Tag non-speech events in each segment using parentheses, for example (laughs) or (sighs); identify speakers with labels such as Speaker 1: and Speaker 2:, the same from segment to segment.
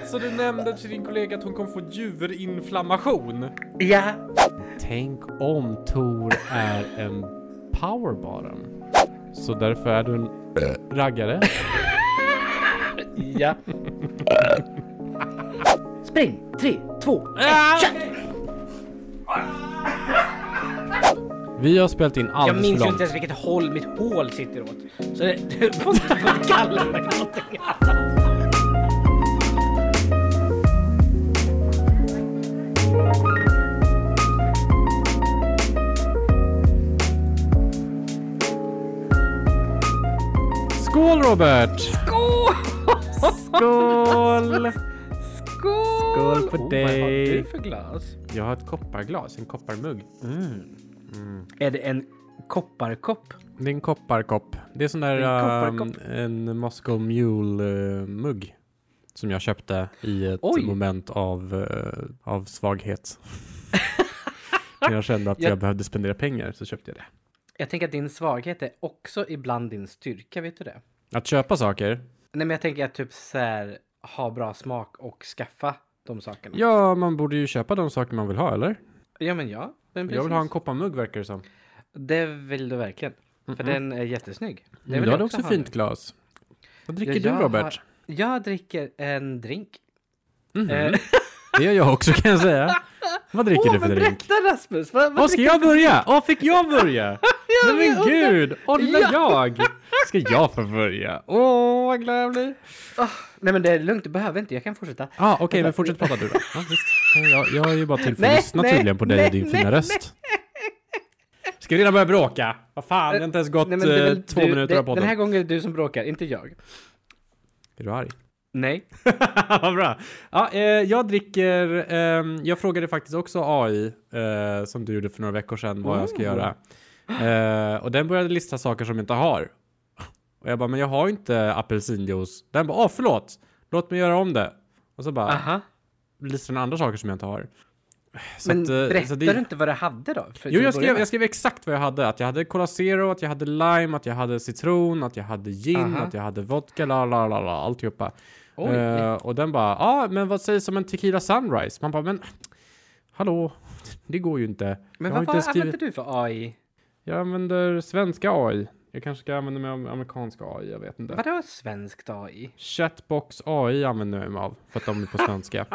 Speaker 1: Alltså du nämnde till din kollega att hon kommer få djurinflammation.
Speaker 2: Ja.
Speaker 1: Tänk om Tor är en powerbottom. Så därför är du en raggare.
Speaker 2: Ja. Spring! Tre, två,
Speaker 1: Ah! Vi har spelat in
Speaker 2: Jag
Speaker 1: alldeles för
Speaker 2: minns ju
Speaker 1: långt.
Speaker 2: inte ens vilket håll mitt hål sitter åt. Så det, (laughs) du får inte kalla mig någonting annat.
Speaker 1: Skål Robert! Skål!
Speaker 2: Skål!
Speaker 1: Skål på
Speaker 2: oh, Vad har
Speaker 1: dig.
Speaker 2: du för glas?
Speaker 1: Jag har ett kopparglas, en kopparmugg.
Speaker 2: Är det en kopparkopp?
Speaker 1: Det är en kopparkopp. Det är sån där
Speaker 2: Det är en
Speaker 1: ehm,
Speaker 2: kopparkopp.
Speaker 1: en Moscow Mule-mugg. eh, som jag köpte i ett
Speaker 2: Oj.
Speaker 1: moment av, eh, av
Speaker 2: (laughs)
Speaker 1: svaghet. När jag kände att
Speaker 2: Jag-
Speaker 1: jag behövde spendera pengar så köpte jag det.
Speaker 2: Jag tänker att din svaghet är också ibland din styrka, vet du det?
Speaker 1: Att köpa saker?
Speaker 2: Nej men jag tänker att typ så här, ha bra smak och skaffa de sakerna.
Speaker 1: Ja, man borde ju köpa de saker man vill ha, eller?
Speaker 2: Ja men ja. Men
Speaker 1: Jag vill ha en
Speaker 2: precis.
Speaker 1: kopparmugg verkar det som.
Speaker 2: Det vill du verkligen. För den är jättesnygg. Det
Speaker 1: Men
Speaker 2: vill
Speaker 1: du
Speaker 2: jag
Speaker 1: hade också
Speaker 2: ha nu.
Speaker 1: fint glas. Vad dricker
Speaker 2: Ja, jag
Speaker 1: du, Robert?
Speaker 2: Har, jag dricker en drink.
Speaker 1: Mhm.
Speaker 2: Eh,
Speaker 1: Det gör jag också kan jag säga.
Speaker 2: (laughs)
Speaker 1: Vad dricker
Speaker 2: Åh,
Speaker 1: du för
Speaker 2: men
Speaker 1: drink?
Speaker 2: berätta Rasmus! Vad, vad
Speaker 1: Åh, ska
Speaker 2: dricker
Speaker 1: jag börja? Åh, fick jag
Speaker 2: (laughs)
Speaker 1: börja? Nej men
Speaker 2: jag undrar-
Speaker 1: gud, åh lilla
Speaker 2: Ja.
Speaker 1: jag! Ska jag få börja? Åh, vad glad jag blir!
Speaker 2: Ah, nej men det är lugnt, du behöver inte, jag kan fortsätta.
Speaker 1: Ja, ah, okej, men fortsätt prata du då. Ja, visst. Jag, jag är ju bara till för att
Speaker 2: (laughs) Nej,
Speaker 1: lyssna
Speaker 2: nej,
Speaker 1: tydligen på dig och
Speaker 2: nej,
Speaker 1: din fina
Speaker 2: nej,
Speaker 1: röst. Ska vi redan börja bråka? Vad fan, det har inte ens gått
Speaker 2: Nej, men det är väl
Speaker 1: eh, två
Speaker 2: du,
Speaker 1: minuter
Speaker 2: det,
Speaker 1: av podden.
Speaker 2: Den här gången är det du som bråkar, inte jag.
Speaker 1: Är du arg?
Speaker 2: Nej.
Speaker 1: (laughs) Vad bra. Ja, eh, jag dricker, ehm, jag frågade faktiskt också AI, eh, som du gjorde för några veckor sedan, vad jag ska
Speaker 2: Oh.
Speaker 1: göra. Eh, och den började lista saker som jag inte har. Och jag bara, men jag har ju inte apelsinjuice. Den bara, åh förlåt, låt mig göra om det. Och så bara,
Speaker 2: Aha.
Speaker 1: listar den andra saker som jag inte har. Så
Speaker 2: Men
Speaker 1: att, eh, så
Speaker 2: berättar
Speaker 1: det-
Speaker 2: du inte vad du hade då? För
Speaker 1: Jo,
Speaker 2: till
Speaker 1: jag
Speaker 2: att börja
Speaker 1: skrev,
Speaker 2: med?
Speaker 1: jag skrev exakt vad jag hade. Att jag hade Cola Zero, att jag hade lime, att jag hade citron, att jag hade gin,
Speaker 2: Aha.
Speaker 1: att jag hade vodka, la la la la, alltihopa.
Speaker 2: Oj.
Speaker 1: Eh, och den bara, ja, ah, men vad sägs om en tequila sunrise? Man bara, men hallå, det går ju inte. jag
Speaker 2: Men
Speaker 1: har
Speaker 2: vad
Speaker 1: inte
Speaker 2: vad
Speaker 1: ens skrivit-
Speaker 2: använder du för AI?
Speaker 1: Jag använder svenska AI. Jag kanske ska använda mig av amerikanska AI, jag vet inte.
Speaker 2: Vadå svenskt AI?
Speaker 1: Chatbox AI använder jag mig av, för att de är på svenska.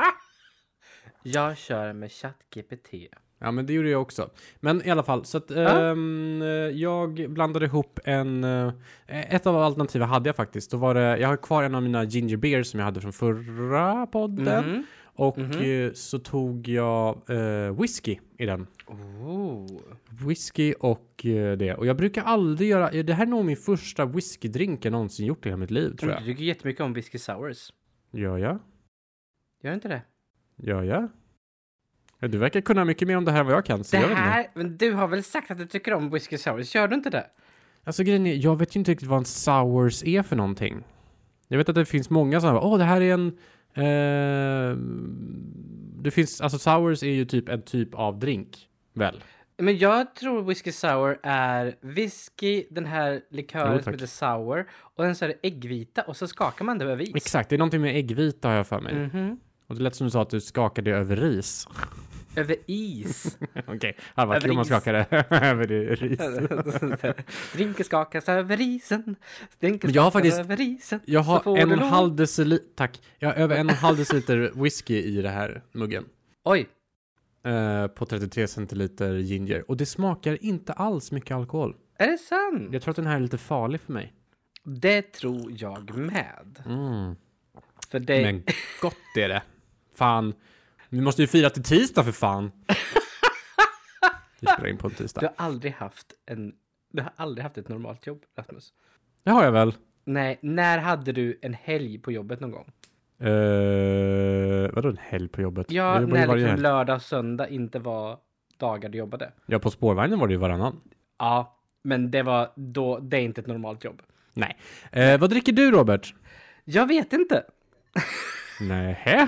Speaker 2: Jag kör med ChatGPT.
Speaker 1: Ja, men det gjorde jag också. Men i alla fall, så att ehm, eh, jag blandade ihop en... eh, ett av alternativen hade jag faktiskt. Då var det, jag har kvar en av mina ginger beer som jag hade från förra podden.
Speaker 2: Mhm.
Speaker 1: Och
Speaker 2: Mhm.
Speaker 1: eh, så tog jag eh, whisky i den. Mm.
Speaker 2: Oh.
Speaker 1: Whisky och eh, det. Och jag brukar aldrig göra... Det här är nog min första whiskydrink jag någonsin gjort i hela mitt liv, tror
Speaker 2: Du
Speaker 1: jag.
Speaker 2: tycker jättemycket om whisky sours.
Speaker 1: Gör jag?
Speaker 2: Gör inte det?
Speaker 1: Gör jag? Ja, Du verkar kunna mycket mer om det här än vad jag kan. Så
Speaker 2: det
Speaker 1: jag vet inte.
Speaker 2: här, men du har väl sagt att du tycker om whisky sours? Gör du inte det?
Speaker 1: Alltså grejen är, jag vet ju inte riktigt vad en sours är för någonting. Jag vet att det finns många sådana, åh det här är en... Eh, det finns, alltså sours är ju typ en typ av drink, väl?
Speaker 2: Men jag tror whisky sour är whisky, den här likören
Speaker 1: Jo,
Speaker 2: som
Speaker 1: tack.
Speaker 2: heter sour och sen så är det äggvita och så skakar man det över is.
Speaker 1: Exakt, det är någonting med äggvita har jag för mig.
Speaker 2: Mhm.
Speaker 1: Och det lät som du sa att du skakade över ris. (laughs)
Speaker 2: Över is.
Speaker 1: Okej, det var
Speaker 2: Över
Speaker 1: kul om man
Speaker 2: is.
Speaker 1: skakade (laughs) över ris.
Speaker 2: Drinken skakas över isen. Drinken
Speaker 1: Men jag har
Speaker 2: skakas
Speaker 1: faktiskt-
Speaker 2: över isen.
Speaker 1: Jag
Speaker 2: Så får
Speaker 1: har en
Speaker 2: du
Speaker 1: och en
Speaker 2: lov.
Speaker 1: halv deciliter, tack. Jag har över en och en halv deciliter whisky i det här muggen.
Speaker 2: Oj,
Speaker 1: Eh, på 33 centiliter ginger. Och det smakar inte alls mycket alkohol.
Speaker 2: är det sant?
Speaker 1: Jag tror att den här är lite farlig för mig.
Speaker 2: Det tror jag med.
Speaker 1: Mm.
Speaker 2: För det...
Speaker 1: Men gott är det. Fan. Vi måste ju fira till tisdag för fan. Vi spelar in på en
Speaker 2: Du
Speaker 1: tisdag.
Speaker 2: har aldrig haft en... Du har aldrig haft ett normalt jobb, Rasmus.
Speaker 1: Det har jag väl.
Speaker 2: Nej, när hade du en helg på jobbet någon gång?
Speaker 1: Uh, vadå en helg på jobbet?
Speaker 2: Ja,
Speaker 1: jag jobbar ju
Speaker 2: när
Speaker 1: varje
Speaker 2: liksom
Speaker 1: helg.
Speaker 2: lördag och söndag inte var dagar du jobbade.
Speaker 1: Ja, på spårvagnen var det ju varannan.
Speaker 2: Ja, men det var då, det är inte ett normalt jobb.
Speaker 1: Nej. Eh, vad dricker du Robert?
Speaker 2: Jag vet inte.
Speaker 1: Nähä?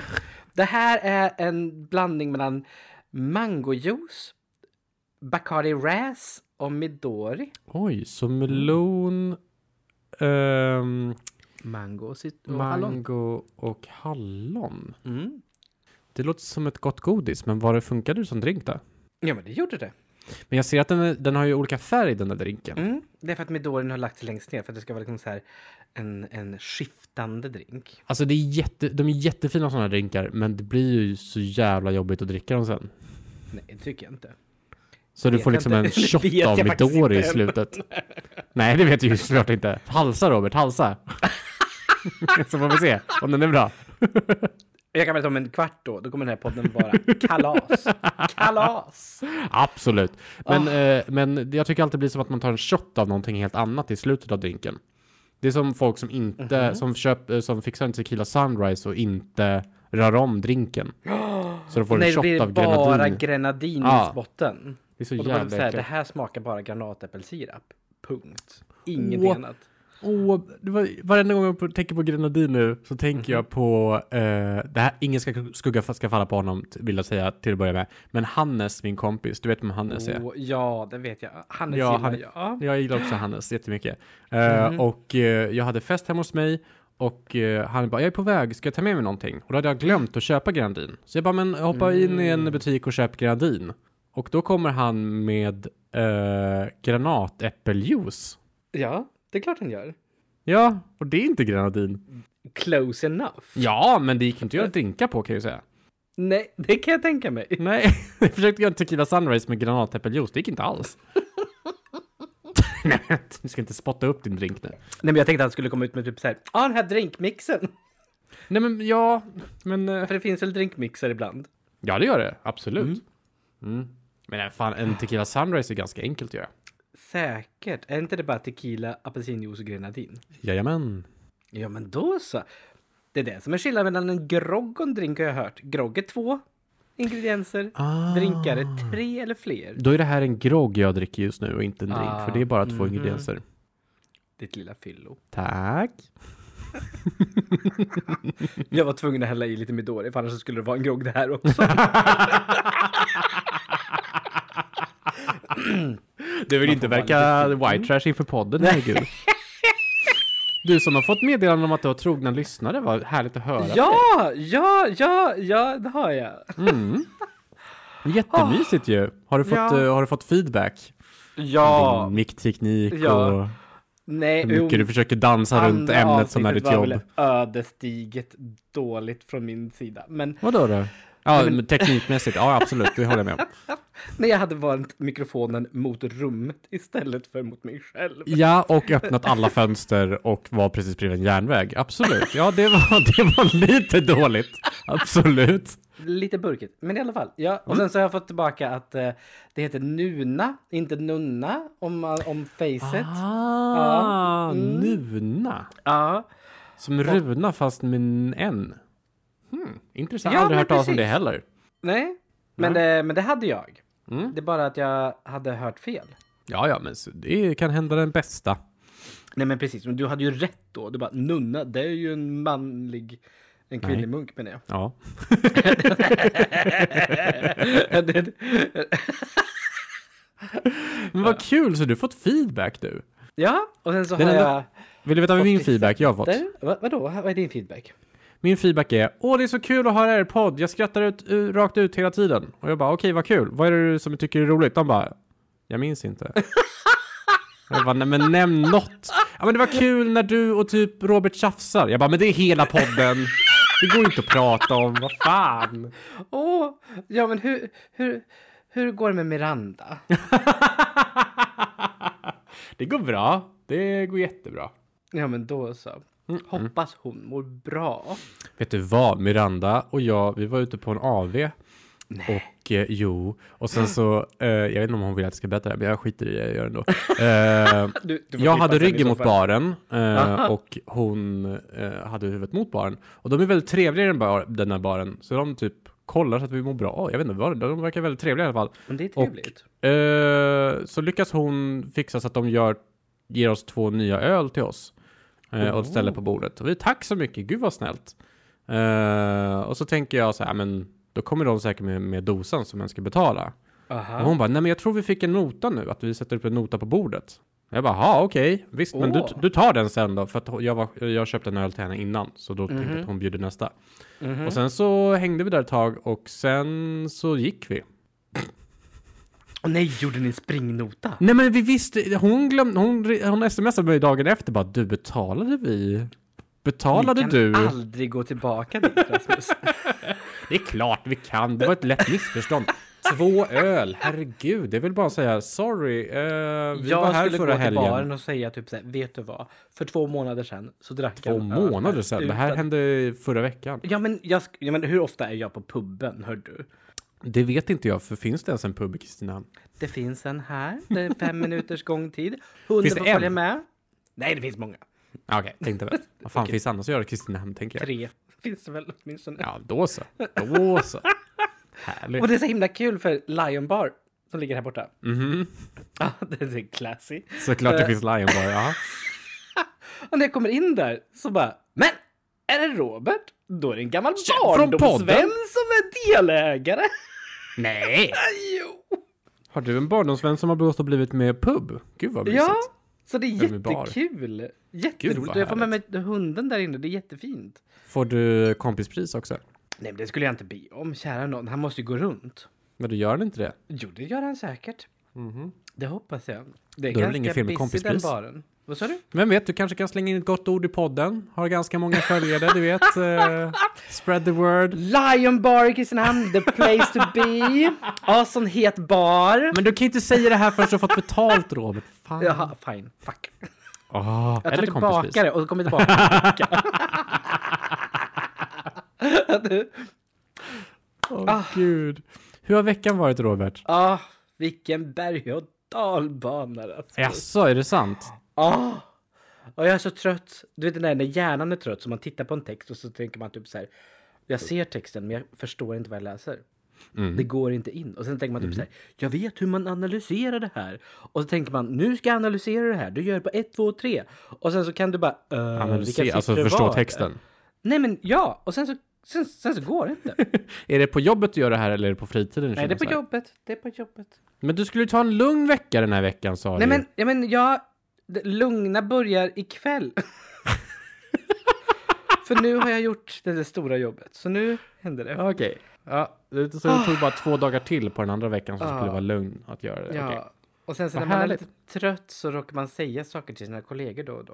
Speaker 2: Det här är en blandning mellan mangojuice, Bacardi Ras och Midori.
Speaker 1: Oj, så melon... ehm,
Speaker 2: Mango sitt och hallon.
Speaker 1: Mango och hallon.
Speaker 2: Mm.
Speaker 1: Det låter som ett gott godis, men var det funkade det som drink då?
Speaker 2: Ja, men det gjorde det.
Speaker 1: Men jag ser att den, är- den har ju olika färg den där drinken.
Speaker 2: Mm. Det är för att Medorin har lagt sig längst ner för att det ska vara liksom så här en, en skiftande drink.
Speaker 1: Alltså det är jätte, de är jättefina sådana drinkar, men det blir ju så jävla jobbigt att dricka dem sen.
Speaker 2: Nej, det tycker jag inte.
Speaker 1: Så du
Speaker 2: Vet
Speaker 1: får
Speaker 2: jag
Speaker 1: liksom
Speaker 2: inte.
Speaker 1: en
Speaker 2: (laughs) Det
Speaker 1: shot
Speaker 2: vet jag
Speaker 1: av
Speaker 2: faktiskt
Speaker 1: Midori i
Speaker 2: inte än. (laughs)
Speaker 1: slutet. Nej, det vet du ju såklart inte. Halsa Robert,
Speaker 2: (laughs)
Speaker 1: halsa. (laughs) så får vi se om den är bra.
Speaker 2: Jag kan berätta om en kvart då, då kommer den här podden vara (laughs) kalas. Kalas!
Speaker 1: Absolut. Men,
Speaker 2: Ah.
Speaker 1: eh, men jag tycker alltid det blir som att man tar en shot av någonting helt annat i slutet av drinken. Det är som folk som inte,
Speaker 2: Mhm.
Speaker 1: som, köp, eh, som fixar en tequila sunrise och inte rör om
Speaker 2: (gasps)
Speaker 1: drinken. Så de får en
Speaker 2: Nej, det
Speaker 1: shot
Speaker 2: blir
Speaker 1: av
Speaker 2: bara
Speaker 1: grenadin.
Speaker 2: grenadin
Speaker 1: Ja.
Speaker 2: i botten.
Speaker 1: det är så
Speaker 2: Och då var det så
Speaker 1: jävla
Speaker 2: här, det
Speaker 1: äckligt.
Speaker 2: här smakar bara granatäppelsirap. Punkt. Ingenting
Speaker 1: Åh.
Speaker 2: annat.
Speaker 1: Åh, det var, varenda gång jag på- tänker på Grenadin nu så
Speaker 2: Mhm.
Speaker 1: tänker jag på, eh, det här, ingen ska, skugga ska falla på honom t- vill jag säga till att börja med. Men Hannes, min kompis, du vet vem Hannes är?
Speaker 2: Åh, ja, det vet jag. Hannes
Speaker 1: Ja,
Speaker 2: ja,
Speaker 1: han-
Speaker 2: gillar jag. Ja.
Speaker 1: Jag gillar också Hannes jättemycket. Eh, Och eh, jag hade fest hemma hos mig och eh, han bara, jag är på väg, ska jag ta med mig någonting? Och då hade jag glömt att köpa Grandin. Så jag bara, men hoppa in i en butik och köp Grandin. Och då kommer han med eh, granatäppeljuice.
Speaker 2: ja, det är klart han gör.
Speaker 1: Ja, och det är inte Grenadin.
Speaker 2: Close enough.
Speaker 1: Ja, men det gick inte att göra drinkar på kan jag ju säga.
Speaker 2: Nej, det kan jag tänka mig.
Speaker 1: Nej, (laughs) jag försökte göra en tequila sunrise med granatäppeljuice, det gick inte alls. (laughs) Nej, men du ska inte spotta upp din drink nu.
Speaker 2: Nej, men jag tänkte att han skulle komma ut med typ så här. Ja, ah, den här drinkmixen. (laughs)
Speaker 1: Nej men ja, men eh,
Speaker 2: För det finns väl drinkmixer ibland?
Speaker 1: ja det gör det, absolut. Mm. Men nej, fan, en tequila sunrise är ganska enkelt att göra.
Speaker 2: Säkert. Är inte det bara tequila, apelsinjuice och grenadin?
Speaker 1: Jajamän.
Speaker 2: Ja, men då så. Det är det som är skillnaden mellan en grogg och en drink har jag hört. Grogg är två ingredienser.
Speaker 1: Ah.
Speaker 2: Drinkar är tre eller fler.
Speaker 1: Då är det här en grogg jag dricker just nu och inte en drink,
Speaker 2: Ah,
Speaker 1: för det är bara två ingredienser.
Speaker 2: Ditt lilla fyllo.
Speaker 1: Tack.
Speaker 2: Jag var tvungen att hälla i lite Midori för annars så skulle det vara en grogg det här också.
Speaker 1: Du vill inte
Speaker 2: får vara
Speaker 1: verka white trash inför podden, herregud. (laughs) Du som har fått meddelanden om att du har trogna lyssnare, vad härligt att höra.
Speaker 2: (laughs) ja, ja, ja, ja, det har jag.
Speaker 1: Jättemysigt ju. Har du fått,
Speaker 2: Ja.
Speaker 1: eh, har du fått feedback?
Speaker 2: Ja,
Speaker 1: Din mickteknik
Speaker 2: Ja.
Speaker 1: och
Speaker 2: nej,
Speaker 1: hur mycket
Speaker 2: jo,
Speaker 1: du försöker dansa runt
Speaker 2: andra
Speaker 1: ämnet som är
Speaker 2: avsnittet
Speaker 1: ditt jobb.
Speaker 2: var väl ödesdigert dåligt från min sida. Men
Speaker 1: Vadå då? Ja, men... teknikmässigt. Ja, absolut. Det håller jag med om.
Speaker 2: när jag hade valt mikrofonen mot rummet istället för mot mig själv.
Speaker 1: (laughs) Ja, och öppnat alla fönster och var precis bredvid en järnväg. Absolut. Ja, det var, (laughs) det var lite dåligt. Absolut.
Speaker 2: Lite burkigt, men i alla fall. Ja, och sen så har jag fått tillbaka att eh, det heter Nuna, inte Nunna, om, man- om facet.
Speaker 1: Ah,
Speaker 2: Mm.
Speaker 1: Nuna.
Speaker 2: Ja.
Speaker 1: Som runa fast med en N. Hmm, intressant. Jag
Speaker 2: Ja,
Speaker 1: har aldrig
Speaker 2: men
Speaker 1: hört talas om det
Speaker 2: precis.
Speaker 1: heller.
Speaker 2: Nej, Mm. men, det, men det hade jag. Det är bara att jag hade hört fel.
Speaker 1: Ja, ja, men så det kan hända den bästa.
Speaker 2: Nej men precis, men du hade ju rätt då. Du bara nunna, det är ju en manlig, en kvinnlig munk menar jag. (laughs)
Speaker 1: Ja.
Speaker 2: Det-
Speaker 1: Men vad kul, så du har fått feedback du.
Speaker 2: ja, och sen så
Speaker 1: Den
Speaker 2: har
Speaker 1: enda-
Speaker 2: jag...
Speaker 1: Vill du veta vad min
Speaker 2: Åttiosex.
Speaker 1: feedback jag har fått?
Speaker 2: Där, vad, vadå, vad är din feedback?
Speaker 1: Min feedback är Åh, det är så kul att höra er podd. Jag skrattar ut, u- rakt ut hela tiden. Och jag bara, okej, vad kul. Vad är det du som tycker är roligt? De bara, jag minns inte. Jag bara, nej men nämn något. Ja men det var kul när du och typ Robert tjafsar. Jag bara, men det är hela podden. Det går ju inte att prata om, vad fan.
Speaker 2: Åh, ja men hur, hur, hur går det med Miranda?
Speaker 1: Det går bra. Det går jättebra.
Speaker 2: Ja men då så.
Speaker 1: Mm.
Speaker 2: Hoppas hon mår bra.
Speaker 1: Vet du vad? Miranda och jag, vi var ute på en AV. Och eh, jo, och sen så, eh, jag vet inte om hon vill att jag ska berätta det här, men jag skiter i det, jag gör det ändå. Eh,
Speaker 2: Du, du får
Speaker 1: jag
Speaker 2: klippa
Speaker 1: hade
Speaker 2: sen i
Speaker 1: ryggen
Speaker 2: så
Speaker 1: mot
Speaker 2: fall.
Speaker 1: baren eh, och hon eh, hade huvudet mot baren. Och de är väldigt trevliga i den, bar, den här baren, så de typ kollar så att vi mår bra. Jag vet inte vad det de verkar väldigt trevliga i alla fall.
Speaker 2: Men det är
Speaker 1: Och-
Speaker 2: trevligt.
Speaker 1: Eh, så lyckas hon fixa så att de gör, ger oss två nya öl till oss. Eh, och ställer på bordet. Och vi tack så mycket, gud vad snällt. Eh, och så tänker jag så här, men då kommer de säkert med, med dosan som man ska betala.
Speaker 2: Aha.
Speaker 1: Och hon bara, nej men jag tror vi fick en nota nu, att vi sätter upp en nota på bordet. Jag bara, ja okej, visst, men du,
Speaker 2: Åh.
Speaker 1: du tar den sen då, för att jag, var, jag köpte en öl till henne innan, så då tänkte jag
Speaker 2: Mhm.
Speaker 1: att hon bjuder nästa. Och sen så hängde vi där ett tag och sen så gick vi.
Speaker 2: Och nej, gjorde ni en springnota?
Speaker 1: Nej men vi visste, hon glömde, hon, hon smsade mig dagen efter bara, du betalade vi? Betalade
Speaker 2: ni kan
Speaker 1: du?
Speaker 2: aldrig gå tillbaka dit Rasmus.
Speaker 1: Det är klart vi kan, det var ett lätt missförstånd. Två öl, herregud, det vill bara att säga sorry, eh, vi var
Speaker 2: jag
Speaker 1: här
Speaker 2: skulle gå
Speaker 1: förra
Speaker 2: till
Speaker 1: helgen.
Speaker 2: baren och säga typ så här, vet du vad? För två månader sedan så drack
Speaker 1: Två
Speaker 2: jag en öl
Speaker 1: månader sedan, det här
Speaker 2: utan-
Speaker 1: hände förra veckan.
Speaker 2: Ja men, jag, sk- ja men hur ofta är jag på puben, hör du?
Speaker 1: Det vet inte jag, för finns det ens en pub i Kristinehamn?
Speaker 2: Det finns en här, det är fem (laughs) minuters gångtid. Hunden
Speaker 1: Finns det
Speaker 2: får följa
Speaker 1: en?
Speaker 2: med. Nej, det finns många.
Speaker 1: Ah, Okej, tänkte
Speaker 2: (laughs)
Speaker 1: väl. Vad fan finns annars att göra i Kristinehamn, tänker jag.
Speaker 2: Tre finns det väl åtminstone.
Speaker 1: Ja, då så. Då så.
Speaker 2: Och
Speaker 1: Härligt.
Speaker 2: det är så himla kul för Lion Bar som ligger här borta.
Speaker 1: Mm.
Speaker 2: Ja, (laughs) det är classy.
Speaker 1: Mhm. Såklart det
Speaker 2: Eh.
Speaker 1: finns Lion Bar, ja.
Speaker 2: Och när jag kommer in där så bara, men är det Robert? Då är det en gammal
Speaker 1: från podden.
Speaker 2: barndomsvän som är delägare. (laughs)
Speaker 1: Nej!
Speaker 2: jo.
Speaker 1: Har du en barndomsvän som har blivit och blivit med i pub? Gud vad mysigt.
Speaker 2: Ja, så det är
Speaker 1: Eller med bar.
Speaker 2: jättekul.
Speaker 1: Gud,
Speaker 2: Jätteroligt.
Speaker 1: vad
Speaker 2: Och jag får med mig hunden där inne, det är jättefint.
Speaker 1: Får du kompispris också?
Speaker 2: Nej, men det skulle jag inte be om, kära någon. Han måste ju gå runt.
Speaker 1: Men du gör inte det?
Speaker 2: Jo, det gör han säkert. Det hoppas jag. Det
Speaker 1: Mhm. Då är det
Speaker 2: är
Speaker 1: väl
Speaker 2: ganska
Speaker 1: ingen fel med
Speaker 2: busy den
Speaker 1: kompispris?
Speaker 2: baren. Vad sa du?
Speaker 1: Vem vet, du kanske kan slänga in ett gott ord i podden. Har ganska många följare, du vet.
Speaker 2: (laughs)
Speaker 1: eh, spread the word.
Speaker 2: Lion Bar i Kristinehamn, the place to
Speaker 1: (laughs)
Speaker 2: be. Awesome het bar.
Speaker 1: Men du kan ju inte säga det här förrän du har fått betalt, Robert. Fan.
Speaker 2: Jaha, fine. Fuck.
Speaker 1: Ah,
Speaker 2: Jag tar
Speaker 1: eller kompispris.
Speaker 2: tillbaka det och så kommer jag tillbaka.
Speaker 1: (laughs)
Speaker 2: (laughs)
Speaker 1: Åh, gud. Hur har veckan varit, Robert?
Speaker 2: ah, vilken berg och dalbana alltså.
Speaker 1: Jaså, är det sant?
Speaker 2: Ah. Och jag är så trött. Du vet den där när hjärnan är trött så man tittar på en text och så tänker man typ så här. Jag ser texten men jag förstår inte vad jag läser.
Speaker 1: Mm.
Speaker 2: Det går inte in. Och sen tänker man typ så här. Jag vet hur man analyserar det här. Och så tänker man nu ska jag analysera det här. Du gör det på 1, 2, 3. Och sen så kan du bara. eh, vilka
Speaker 1: Analysera,
Speaker 2: siffror
Speaker 1: alltså
Speaker 2: var
Speaker 1: förstå
Speaker 2: det?
Speaker 1: texten.
Speaker 2: Nej men ja. Och sen så, sen, sen så går det
Speaker 1: (laughs)
Speaker 2: inte.
Speaker 1: Är det på jobbet du gör det här eller är det på fritiden?
Speaker 2: Nej
Speaker 1: känner
Speaker 2: det är på
Speaker 1: så här?
Speaker 2: jobbet. Det är på jobbet.
Speaker 1: Men du skulle ju ta en lugn vecka den här veckan sa
Speaker 2: Nej
Speaker 1: du.
Speaker 2: men, ja, men jag... det- Lugna börjar ikväll. (laughs) För nu har jag gjort det där stora jobbet. Så nu händer det.
Speaker 1: Okej. Ja, det- så det tog bara två dagar till på den andra veckan som
Speaker 2: Ah.
Speaker 1: skulle vara lugn att göra det.
Speaker 2: Ja.
Speaker 1: Okej.
Speaker 2: Och sen så
Speaker 1: Vad
Speaker 2: när man
Speaker 1: härligt.
Speaker 2: är lite trött så råkar man säga saker till sina kollegor då och då.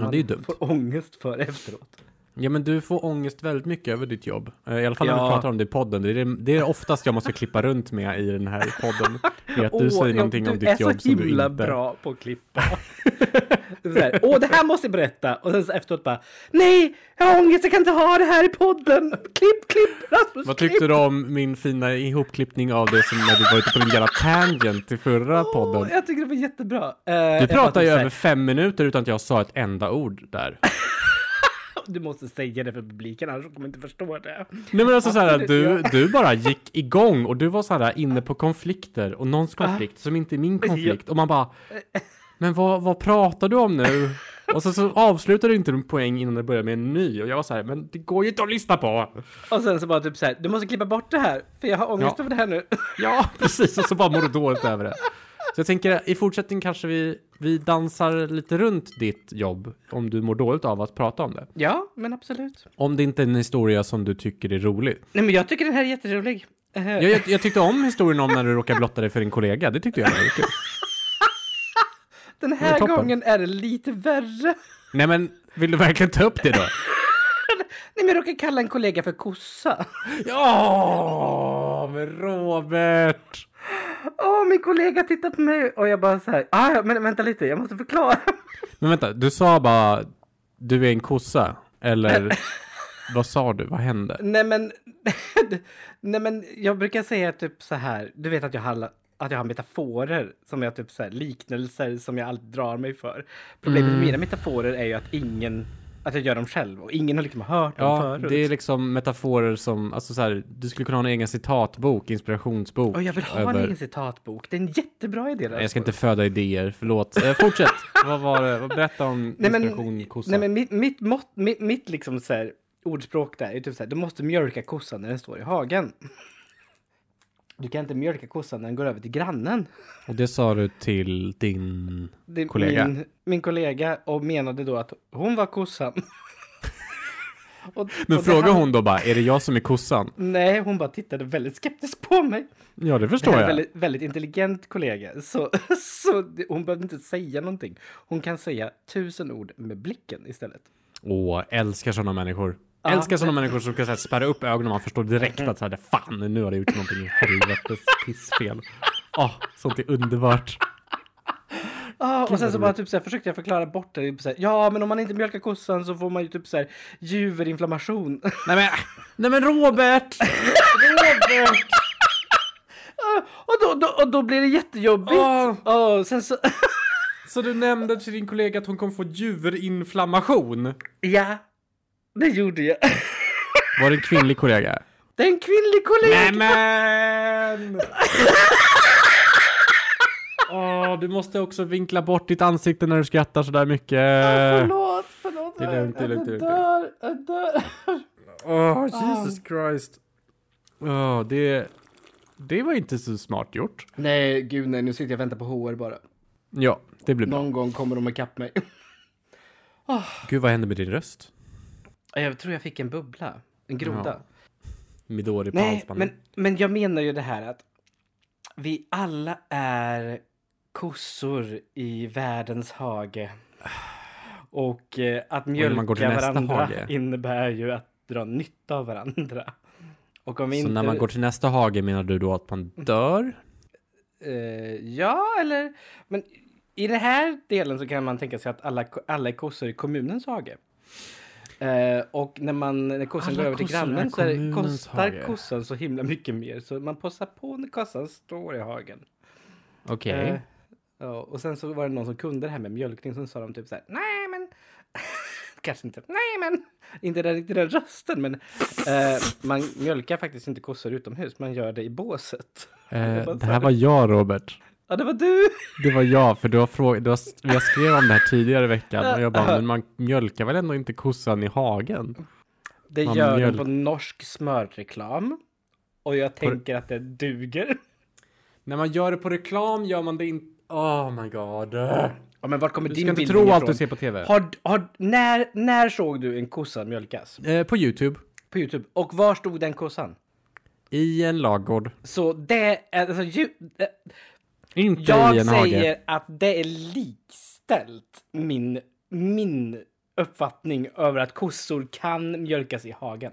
Speaker 1: Ja,
Speaker 2: man
Speaker 1: det är ju dumt.
Speaker 2: får ångest för efteråt.
Speaker 1: Ja men du får ångest väldigt mycket över ditt jobb. Eh, I alla fall när vi
Speaker 2: Ja.
Speaker 1: pratar om det i podden. Det är det, det är oftast jag måste klippa runt med i den här
Speaker 2: (laughs)
Speaker 1: podden. Det är att du
Speaker 2: Åh,
Speaker 1: säger
Speaker 2: ja,
Speaker 1: någonting om ditt
Speaker 2: Du
Speaker 1: jobb
Speaker 2: är så
Speaker 1: som du
Speaker 2: himla
Speaker 1: inte...
Speaker 2: bra på att klippa. (laughs) Det är så här, Åh, det här måste jag berätta. Och sen så efteråt bara, nej, jag har ångest, jag kan inte ha det här i podden. Klipp, klipp, Rasmus,
Speaker 1: Vad
Speaker 2: klipp.
Speaker 1: tyckte du om min fina ihopklippning av det som när du var ute på din jävla tangent till förra podden?
Speaker 2: Åh, jag tycker det var jättebra. Eh,
Speaker 1: Du
Speaker 2: jag bara
Speaker 1: pratar ju
Speaker 2: typ så här,
Speaker 1: över fem minuter utan att jag sa ett enda ord där.
Speaker 2: Du måste säga det för publiken, annars kommer de inte förstå det.
Speaker 1: Nej men alltså såhär,
Speaker 2: Absolut,
Speaker 1: du,
Speaker 2: ja.
Speaker 1: du bara gick igång och du var såhär inne på konflikter och någons
Speaker 2: Ah.
Speaker 1: konflikt som inte är min konflikt och man bara Men vad, vad pratar du om nu? Och sen så avslutar du inte din poäng innan det börjar med en ny och jag var såhär, men det går ju inte att lyssna på!
Speaker 2: Och sen så bara typ så här, du måste klippa bort det här, för jag har ångest
Speaker 1: Ja.
Speaker 2: över det här nu. (laughs)
Speaker 1: Ja, (laughs) precis och så bara mår du dåligt över det. Så jag tänker i fortsättningen kanske vi, vi dansar lite runt ditt jobb om du mår dåligt av att prata om det.
Speaker 2: ja, men absolut.
Speaker 1: Om det inte är en historia som du tycker är rolig.
Speaker 2: Nej, men jag tycker den här är jätterolig. Eh,
Speaker 1: Jag, jag, jag tyckte om historien om när du råkade blotta dig för din kollega, det tyckte jag var väldigt kul.
Speaker 2: den
Speaker 1: det är
Speaker 2: här
Speaker 1: toppen.
Speaker 2: gången är det lite värre. (laughs)
Speaker 1: Nej men, vill du verkligen ta upp det då?
Speaker 2: Nej, men jag råkar kalla en kollega för kossa. (laughs)
Speaker 1: Ja, men Robert!
Speaker 2: Åh, min kollega tittar på mig och jag bara så här, ah, ja, men vänta lite, jag måste förklara. (laughs)
Speaker 1: Men vänta, du sa bara du är en kossa, eller (laughs) vad sa du, vad hände?
Speaker 2: Nej men, (laughs) nej men jag brukar säga typ så här, du vet att jag har, att jag har metaforer som jag typ så här, liknelser som jag alltid drar mig för. Problemet
Speaker 1: Mm.
Speaker 2: med mina metaforer är ju att ingen, att jag gör dem själv och ingen har liksom hört dem
Speaker 1: Ja,
Speaker 2: förut.
Speaker 1: det är liksom metaforer som, alltså så här, du skulle kunna ha en egen citatbok, inspirationsbok.
Speaker 2: Och jag vill ha en egen citatbok, det är en jättebra idé.
Speaker 1: Nej, Jag ska
Speaker 2: Rasmus.
Speaker 1: inte föda idéer, förlåt. Eh,
Speaker 2: (laughs)
Speaker 1: fortsätt! vad var det? Vad- Berätta om
Speaker 2: Nej men,
Speaker 1: inspiration kossa.
Speaker 2: nej, men mitt, mitt, mått, mitt, mitt liksom så här, ordspråk där är typ så här, du måste mjölka kossan när den står i hagen. Du kan inte mjölka kossan när den går över till grannen.
Speaker 1: Och det sa du till din
Speaker 2: Det är
Speaker 1: kollega?
Speaker 2: Min, min kollega och menade då att hon
Speaker 1: (laughs)
Speaker 2: var kossan. Och- och
Speaker 1: Men
Speaker 2: det
Speaker 1: frågar
Speaker 2: här-
Speaker 1: hon då bara, är det jag som är kossan?
Speaker 2: Nej, hon bara tittade väldigt skeptiskt på mig.
Speaker 1: Ja, det
Speaker 2: Det
Speaker 1: förstår
Speaker 2: här är en
Speaker 1: jag.
Speaker 2: väldigt, väldigt intelligent kollega. Så, (laughs) så det- hon behövde inte säga någonting. Hon kan säga tusen ord med blicken istället.
Speaker 1: Åh, älskar sådana människor.
Speaker 2: Ja.
Speaker 1: Älskar sådana människor som kan så här, spärra upp ögonen och man förstår direkt att så här, fan, nu har jag gjort någonting i helvetes pissfel. Åh, sånt är underbart.
Speaker 2: Ja, och sen så bara typ så här, försökte jag förklara bort det. Typ så här, ja, men om man inte mjölkar kossan så får man ju typ så här juverinflammation.
Speaker 1: Nej men, nej men Robert!
Speaker 2: (laughs)
Speaker 1: Robert!
Speaker 2: Ah, och, då, då, och då blir det jättejobbigt.
Speaker 1: Åh.
Speaker 2: Ja, sen så...
Speaker 1: Så du nämnde till din kollega att hon kommer få djurinflammation?
Speaker 2: ja, det gjorde jag. (laughs)
Speaker 1: Var det en kvinnlig kollega?
Speaker 2: Det är en kvinnlig kollega.
Speaker 1: Nej men! Åh, du måste också vinkla bort ditt ansikte när du skrattar sådär mycket.
Speaker 2: Förlåt, förlåt.
Speaker 1: Det är lugnt, det är långt, det är lugnt.
Speaker 2: Jag dör, jag dör.
Speaker 1: Åh, Jesus Christ. Åh, det, det var inte så smart gjort.
Speaker 2: Nej, gud nej, nu sitter jag och väntar på HR bara.
Speaker 1: Ja, det blir bra.
Speaker 2: Någon gång kommer de ikapp mig.
Speaker 1: Gud, vad hände med din röst?
Speaker 2: Jag tror jag fick en bubbla. En groda.
Speaker 1: Ja. Midori på
Speaker 2: Nej, men,
Speaker 1: halsbandet.
Speaker 2: men jag menar ju det här att vi alla är kossor i världens hage. Och eh,
Speaker 1: innan
Speaker 2: att
Speaker 1: man
Speaker 2: mjölka
Speaker 1: går till nästa
Speaker 2: varandra
Speaker 1: hage.
Speaker 2: innebär ju att dra nytta av varandra. Och om vi
Speaker 1: Så
Speaker 2: inte... Mm.
Speaker 1: när man går till nästa hage menar du då att man dör?
Speaker 2: Eh, ja, eller... Men i den här delen så kan man tänka sig att alla, alla är kossor i kommunens hage. Eh, och när, man, när kossan
Speaker 1: Alla
Speaker 2: går över till
Speaker 1: kossor är
Speaker 2: grannen så är det,
Speaker 1: kommunens
Speaker 2: kostar
Speaker 1: hage.
Speaker 2: kossan så himla mycket mer. Så man passar på när kossan står i hagen.
Speaker 1: Okej.
Speaker 2: Eh, ja, och sen så var det någon som kunde det här med mjölkning. Så sa de typ så här, nej men... (laughs) Kanske inte, nej men... Inte den, inte den rösten, men eh, man mjölkar faktiskt inte kossor utomhus. Man gör det i båset.
Speaker 1: Eh, det här var jag, Robert.
Speaker 2: Ja, det var du!
Speaker 1: Det var jag, för du har frågat, du har, jag skrev om det här tidigare i veckan och jag bara, men man mjölkar väl ändå inte kossan i hagen?
Speaker 2: Det
Speaker 1: Man
Speaker 2: gör
Speaker 1: mjöl-
Speaker 2: de på norsk smörreklam. Och jag tänker att det duger. (laughs)
Speaker 1: När man gör det på reklam gör man det inte... Oh my god.
Speaker 2: Ja, men vart kommer
Speaker 1: Du
Speaker 2: din
Speaker 1: ska inte
Speaker 2: bild
Speaker 1: tro allt
Speaker 2: ifrån?
Speaker 1: du ser på TV.
Speaker 2: Har, har, när, när såg du en kossa mjölkas?
Speaker 1: Eh, på YouTube.
Speaker 2: På Youtube. Och var stod den kossan?
Speaker 1: I en lagård.
Speaker 2: Så det är... Alltså, ju, eh,
Speaker 1: Inte
Speaker 2: jag
Speaker 1: i en hage.
Speaker 2: säger att det är likställt min, min uppfattning över att kossor kan mjölkas i hagen.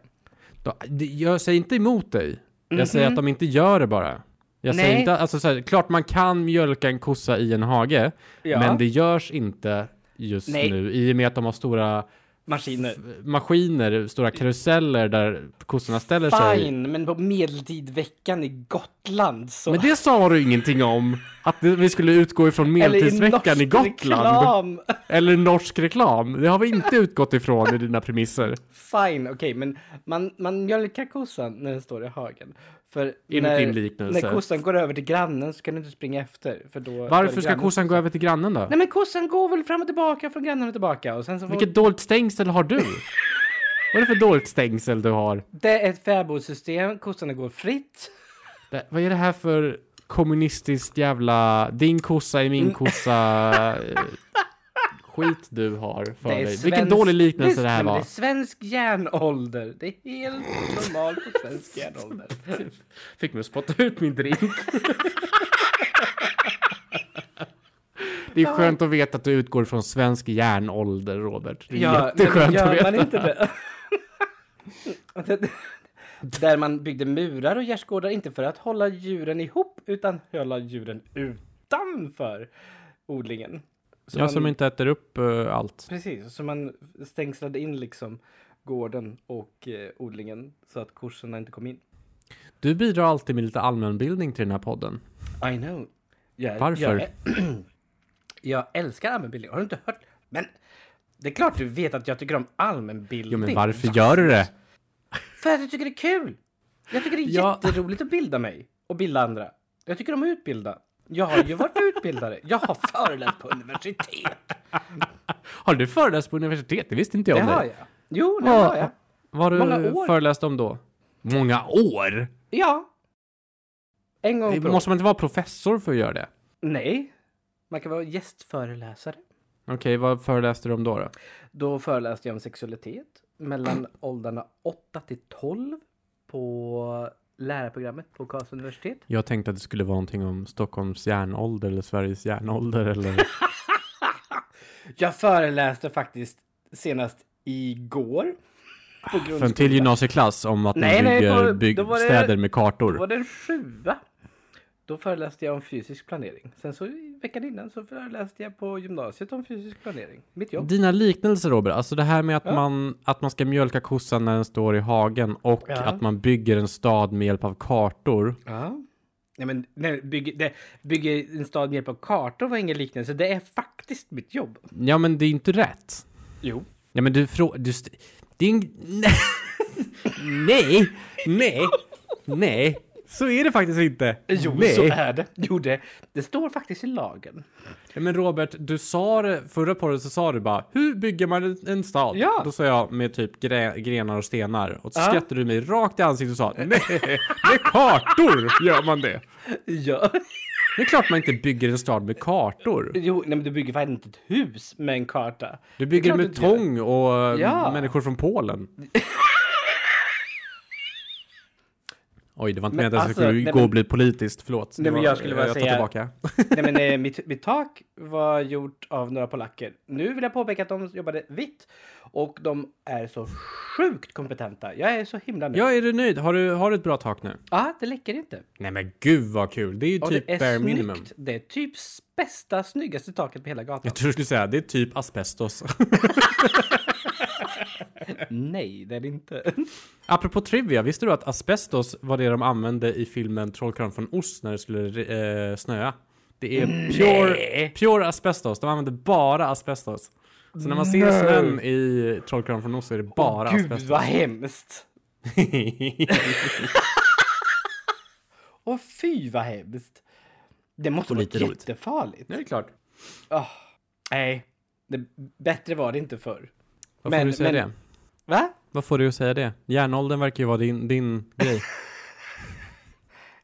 Speaker 1: Då- det- Jag säger inte emot dig. Jag säger att de inte gör det bara. Jag säger
Speaker 2: Nej.
Speaker 1: inte, alltså så här, klart man kan mjölka en kossa i en hage,
Speaker 2: Ja.
Speaker 1: men det görs inte just
Speaker 2: Nej.
Speaker 1: nu i och med att de har stora
Speaker 2: Maskiner.
Speaker 1: maskiner, stora karuseller där kossorna ställer sig.
Speaker 2: Fine, men på medeltidveckan i Gotland så...
Speaker 1: Men det sa du ingenting om, att det- vi skulle utgå ifrån
Speaker 2: Eller
Speaker 1: medeltidsveckan i,
Speaker 2: norsk
Speaker 1: Gotland.
Speaker 2: reklam.
Speaker 1: Eller norsk reklam. Det har vi inte utgått ifrån i dina
Speaker 2: (laughs)
Speaker 1: premisser.
Speaker 2: Fine, okej, men man, man mjölkar kossan när den står i hagen. För
Speaker 1: Enligt din liknelse.
Speaker 2: när kossan går över till grannen så kan du inte springa efter. För då då är det
Speaker 1: Varför ska
Speaker 2: grannen-
Speaker 1: kossan gå över till grannen då?
Speaker 2: Nej men kossan går väl fram och tillbaka från grannen och tillbaka och sen så får...
Speaker 1: Vilket dåligt stängsel har du? vad är det för dåligt stängsel du har?
Speaker 2: Det är ett fäbodsystem, kossarna går fritt.
Speaker 1: Det, vad är det här för kommunistiskt jävla din kossa är
Speaker 2: Mm.
Speaker 1: min kossa eh, skit du har för dig? Vilken
Speaker 2: svensk-
Speaker 1: dålig liknelse
Speaker 2: är-
Speaker 1: det här
Speaker 2: nej, men
Speaker 1: var.
Speaker 2: Det är svensk järnålder. Det är helt normalt på
Speaker 1: (laughs)
Speaker 2: svensk järnålder.
Speaker 1: Fick mig att spotta ut min drink. Det är skönt att veta att du utgår från svensk järnålder, Robert. Det är jätteskönt
Speaker 2: men
Speaker 1: att
Speaker 2: gör
Speaker 1: veta.
Speaker 2: man inte det?
Speaker 1: (laughs)
Speaker 2: det? Där man byggde murar och gärdsgårdar, inte för att hålla djuren ihop, utan hålla djuren utanför odlingen. Så
Speaker 1: Jag
Speaker 2: man,
Speaker 1: som inte äter upp eh, allt.
Speaker 2: Precis, så man stängslade in liksom gården och eh, odlingen så att korsorna inte kom in.
Speaker 1: Du bidrar alltid med lite allmänbildning till den här podden.
Speaker 2: I know. Jag,
Speaker 1: Varför?
Speaker 2: Jag, (clears throat) jag älskar allmänbildning. Har du inte hört? Men det är klart du vet att jag tycker om allmänbildning.
Speaker 1: Jo, men varför gör du det?
Speaker 2: För att jag tycker det är kul! Jag tycker det är
Speaker 1: Ja.
Speaker 2: jätteroligt att bilda mig och bilda andra. Jag tycker om att utbilda. Jag har ju varit utbildare. Jag har föreläst på universitet.
Speaker 1: Har du föreläst på universitet? Det visste inte jag
Speaker 2: Det
Speaker 1: om
Speaker 2: har
Speaker 1: dig.
Speaker 2: jag. Jo, det har
Speaker 1: Vad-
Speaker 2: jag.
Speaker 1: Vad har
Speaker 2: Många
Speaker 1: du
Speaker 2: år.
Speaker 1: föreläst om då? Många år?
Speaker 2: Ja. En gång per år.
Speaker 1: Måste man inte vara professor för att göra det?
Speaker 2: Nej, man kan vara gästföreläsare.
Speaker 1: Okej, vad föreläste du om då? då?
Speaker 2: Då föreläste jag om sexualitet (clears throat) mellan åldrarna 8 till 12 på lärarprogrammet på Karlstads universitet.
Speaker 1: Jag tänkte att det skulle vara någonting om Stockholms järnålder eller Sveriges järnålder eller...
Speaker 2: Jag föreläste faktiskt senast igår. På
Speaker 1: För en till
Speaker 2: grundskolan.
Speaker 1: gymnasieklass om att
Speaker 2: Nej,
Speaker 1: man
Speaker 2: nej,
Speaker 1: bygger
Speaker 2: då-
Speaker 1: bygg,
Speaker 2: då var det-
Speaker 1: städer med
Speaker 2: Då var
Speaker 1: kartor.
Speaker 2: det en sjua. Då föreläste jag om fysisk planering. Sen så i veckan innan så föreläste jag på gymnasiet om fysisk planering. Mitt jobb.
Speaker 1: Dina liknelser Robert, alltså det här med att, man, att man ska mjölka kossan när den står i hagen och
Speaker 2: Ja.
Speaker 1: att man bygger en stad med hjälp av kartor.
Speaker 2: Ja. Nej men nej, bygger, det, bygger en stad med hjälp av kartor var ingen liknelse. Det är faktiskt mitt jobb.
Speaker 1: Ja men det är inte rätt.
Speaker 2: Jo.
Speaker 1: Ja men du frågar... Du st- det är en... (laughs) Nej! Nej! Nej! Så är det faktiskt inte.
Speaker 2: Jo,
Speaker 1: Nej.
Speaker 2: så är det. Jo, det, det står faktiskt i lagen.
Speaker 1: Ja, men Robert, du sa det, förra podden så sa du bara Hur bygger man en- en stad?
Speaker 2: Ja.
Speaker 1: Då sa jag med typ gre- grenar och stenar och så
Speaker 2: Ja.
Speaker 1: skrattade du mig rakt i ansiktet och sa Nej, med kartor gör man det.
Speaker 2: Ja.
Speaker 1: Det är klart man inte bygger en stad med kartor.
Speaker 2: Jo, nej, men du bygger faktiskt inte ett hus med en karta.
Speaker 1: Du
Speaker 2: Det
Speaker 1: bygger
Speaker 2: är
Speaker 1: med
Speaker 2: klart du inte
Speaker 1: tång och eh,
Speaker 2: Ja.
Speaker 1: människor från
Speaker 2: (laughs)
Speaker 1: Polen. Oj, det var inte
Speaker 2: Men
Speaker 1: meningen att jag
Speaker 2: alltså,
Speaker 1: skulle
Speaker 2: nej,
Speaker 1: gå
Speaker 2: men-
Speaker 1: och bli politiskt. Förlåt. Det
Speaker 2: Nej, men
Speaker 1: var-
Speaker 2: jag skulle bara
Speaker 1: jag tar
Speaker 2: säga-
Speaker 1: tillbaka.
Speaker 2: Nej men eh, mitt, mitt tak var gjort av några polacker. Nu vill jag påpeka att de jobbade vitt. Och de är så sjukt kompetenta. Jag är så himla nöjd. Ja,
Speaker 1: Ja, är du nöjd? Har du, har du ett bra tak nu?
Speaker 2: det läcker inte.
Speaker 1: Nej men gud vad kul! Det är ju
Speaker 2: Och
Speaker 1: typ
Speaker 2: det
Speaker 1: bare
Speaker 2: är
Speaker 1: minimum.
Speaker 2: snyggt. Det är typ s- bästa, snyggaste taket på hela gatan.
Speaker 1: (laughs) Jag tror du skulle säga det är typ asbestos. (laughs)
Speaker 2: Nej, det är det inte.
Speaker 1: Apropå trivia, visste du att asbestos var det de använde i filmen Trollkarlen från Oz när det skulle eh, snöa? Det är pure,
Speaker 2: Mm. Nej.
Speaker 1: pure asbestos, de använde bara asbestos. Så när man ser
Speaker 2: Nej.
Speaker 1: snön i Trollkarlen från Oz så är det bara
Speaker 2: Gud
Speaker 1: asbestos.
Speaker 2: vad hemskt! Och fy vad hemskt! Det måste
Speaker 1: Och
Speaker 2: vara
Speaker 1: lite roligt. (laughs)
Speaker 2: jättefarligt.
Speaker 1: det är klart.
Speaker 2: Ah, nej, det, bättre var det inte förr.
Speaker 1: Vad får
Speaker 2: Men-
Speaker 1: du säga
Speaker 2: men-
Speaker 1: det?
Speaker 2: Va?
Speaker 1: Vad får du att säga det? Järnåldern verkar ju vara din, din
Speaker 2: (laughs)
Speaker 1: grej.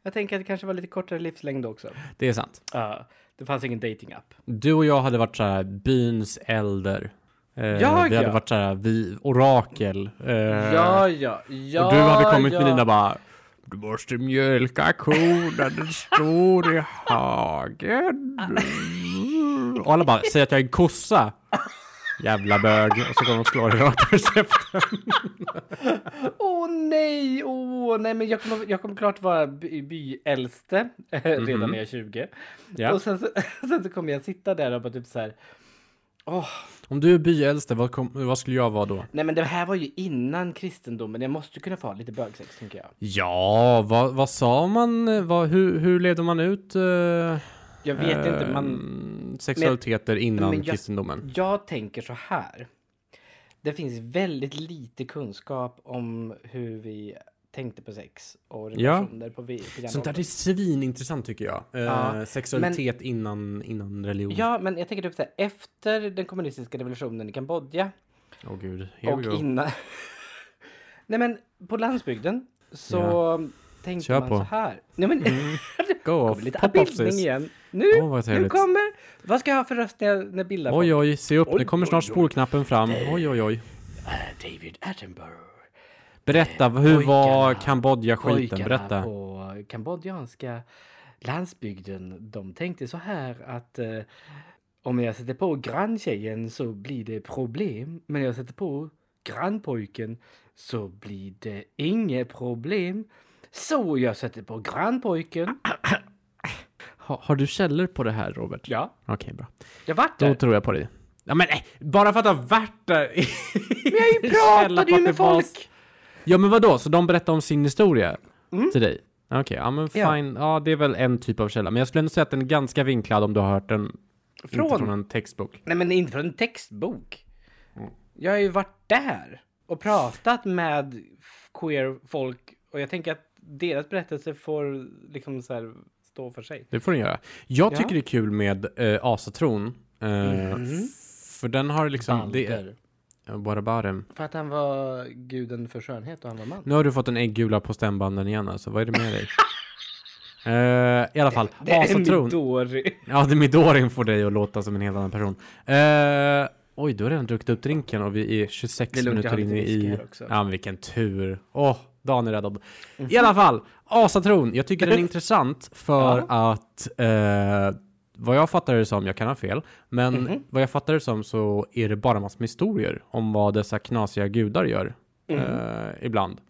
Speaker 2: Jag tänker att det kanske var lite kortare livslängd också.
Speaker 1: Det är sant.
Speaker 2: Ja, det fanns ingen datingapp.
Speaker 1: Du och jag hade varit så här byns älder. Eh,
Speaker 2: Jag,
Speaker 1: vi hade
Speaker 2: ja.
Speaker 1: varit så här, vi, orakel. Eh,
Speaker 2: Ja, ja, ja.
Speaker 1: och du hade kommit
Speaker 2: ja.
Speaker 1: med dina bara du måste mjölka kon när den står i hagen. Och alla bara, säg att jag är en kossa. Jävla bög. Och så kommer de och slår dig rakt över käften.
Speaker 2: Åh nej, åh nej, men jag kommer, jag kommer klart vara by- byäldste eh, redan när jag är 20.
Speaker 1: Mhm. Ja.
Speaker 2: Och sen så, (laughs) sen så kommer jag sitta där och bara typ så här. Åh,
Speaker 1: Om du är byäldste, vad, kom, vad skulle jag vara då?
Speaker 2: nej men det här var ju innan kristendomen. Jag måste ju kunna få ha lite bögsex tänker jag.
Speaker 1: Ja, vad, vad sa man? Vad, hur, hur levde man ut eh,
Speaker 2: Jag vet inte, man,
Speaker 1: mm, sexualiteter innan
Speaker 2: men jag-
Speaker 1: kristendomen?
Speaker 2: jag tänker så här. Det finns väldigt lite kunskap om hur vi tänkte på sex och
Speaker 1: Ja.
Speaker 2: relationer på vi- på den
Speaker 1: Sånt där
Speaker 2: åldern.
Speaker 1: är svinintressant tycker jag. Eh,
Speaker 2: Ja,
Speaker 1: sexualitet innan, innan religion.
Speaker 2: Ja, men jag tänker typ såhär, efter den kommunistiska revolutionen i Kambodja
Speaker 1: Åh gud, here
Speaker 2: och
Speaker 1: we go.
Speaker 2: innan... (laughs) Nej men, på landsbygden så tänkte
Speaker 1: Kör
Speaker 2: man
Speaker 1: på.
Speaker 2: så här. Nej men, (laughs)
Speaker 1: Go
Speaker 2: kommer
Speaker 1: off,
Speaker 2: lite
Speaker 1: pop off
Speaker 2: bildning
Speaker 1: sis.
Speaker 2: igen. Nu,
Speaker 1: Åh, vad
Speaker 2: nu
Speaker 1: trevligt.
Speaker 2: kommer... Vad ska jag ha för röst när jag, när jag bildar folk?
Speaker 1: Oj oj, se upp, nu
Speaker 2: Oj,
Speaker 1: kommer
Speaker 2: oj,
Speaker 1: snart
Speaker 2: oj.
Speaker 1: spolknappen fram. Oj oj oj.
Speaker 2: Eh, David Attenborough.
Speaker 1: Berätta, hur var
Speaker 2: Pojkarna.
Speaker 1: Kambodja-skiten?
Speaker 2: Pojkarna
Speaker 1: Berätta.
Speaker 2: på kambodjanska landsbygden, de tänkte så här att eh, om jag sätter på granntjejen så blir det problem, men jag sätter på grannpojken så blir det inget problem. Så jag sätter på grannpojken.
Speaker 1: Ha, har du källor på det här Robert?
Speaker 2: Ja,
Speaker 1: Okej, bra.
Speaker 2: jag vart
Speaker 1: Då
Speaker 2: där.
Speaker 1: tror jag på dig. Ja men nej, bara för att du har varit där.
Speaker 2: Men
Speaker 1: (laughs)
Speaker 2: jag
Speaker 1: Källa på
Speaker 2: pratade ju
Speaker 1: att
Speaker 2: med
Speaker 1: det var-
Speaker 2: folk!
Speaker 1: Ja men vadå, så de berättar om sin historia till dig? Okej, ja men
Speaker 2: Mm. Ja.
Speaker 1: fine. Ja. det är väl en typ av källa. Men jag skulle ändå säga att den är ganska vinklad om du har hört den från, inte
Speaker 2: Från-
Speaker 1: från en textbok.
Speaker 2: Nej men inte från en textbok. Jag har ju varit där och pratat med f- queer folk och jag tänker att deras berättelse får liksom så här stå för sig.
Speaker 1: Det får den göra. Jag
Speaker 2: Ja.
Speaker 1: tycker det är kul med eh, asatron. Eh,
Speaker 2: Mhm.
Speaker 1: f- För den har liksom... Det, eh, what about him?
Speaker 2: För att han var guden för skönhet och han var man. (laughs)
Speaker 1: Nu har du fått en äggula på stämbanden igen alltså. Vad är det med dig? Eh, I alla fall,
Speaker 2: Det är
Speaker 1: asatron.
Speaker 2: Midori.
Speaker 1: Ja, det Midorin får dig att låta som en helt annan person. Eh, oj, du har redan druckit upp drinken och vi är 26
Speaker 2: Det är lugnt, jag har
Speaker 1: minuter inne
Speaker 2: lite whisky
Speaker 1: i...
Speaker 2: här också.
Speaker 1: Ja, men vilken tur. Åh, Dan är räddad. I alla fall, asatron. Jag tycker den är intressant för att eh, vad jag fattar det som, jag kan ha fel, men vad jag fattar det som så är det bara massor med historier om vad dessa knasiga gudar gör eh, ibland.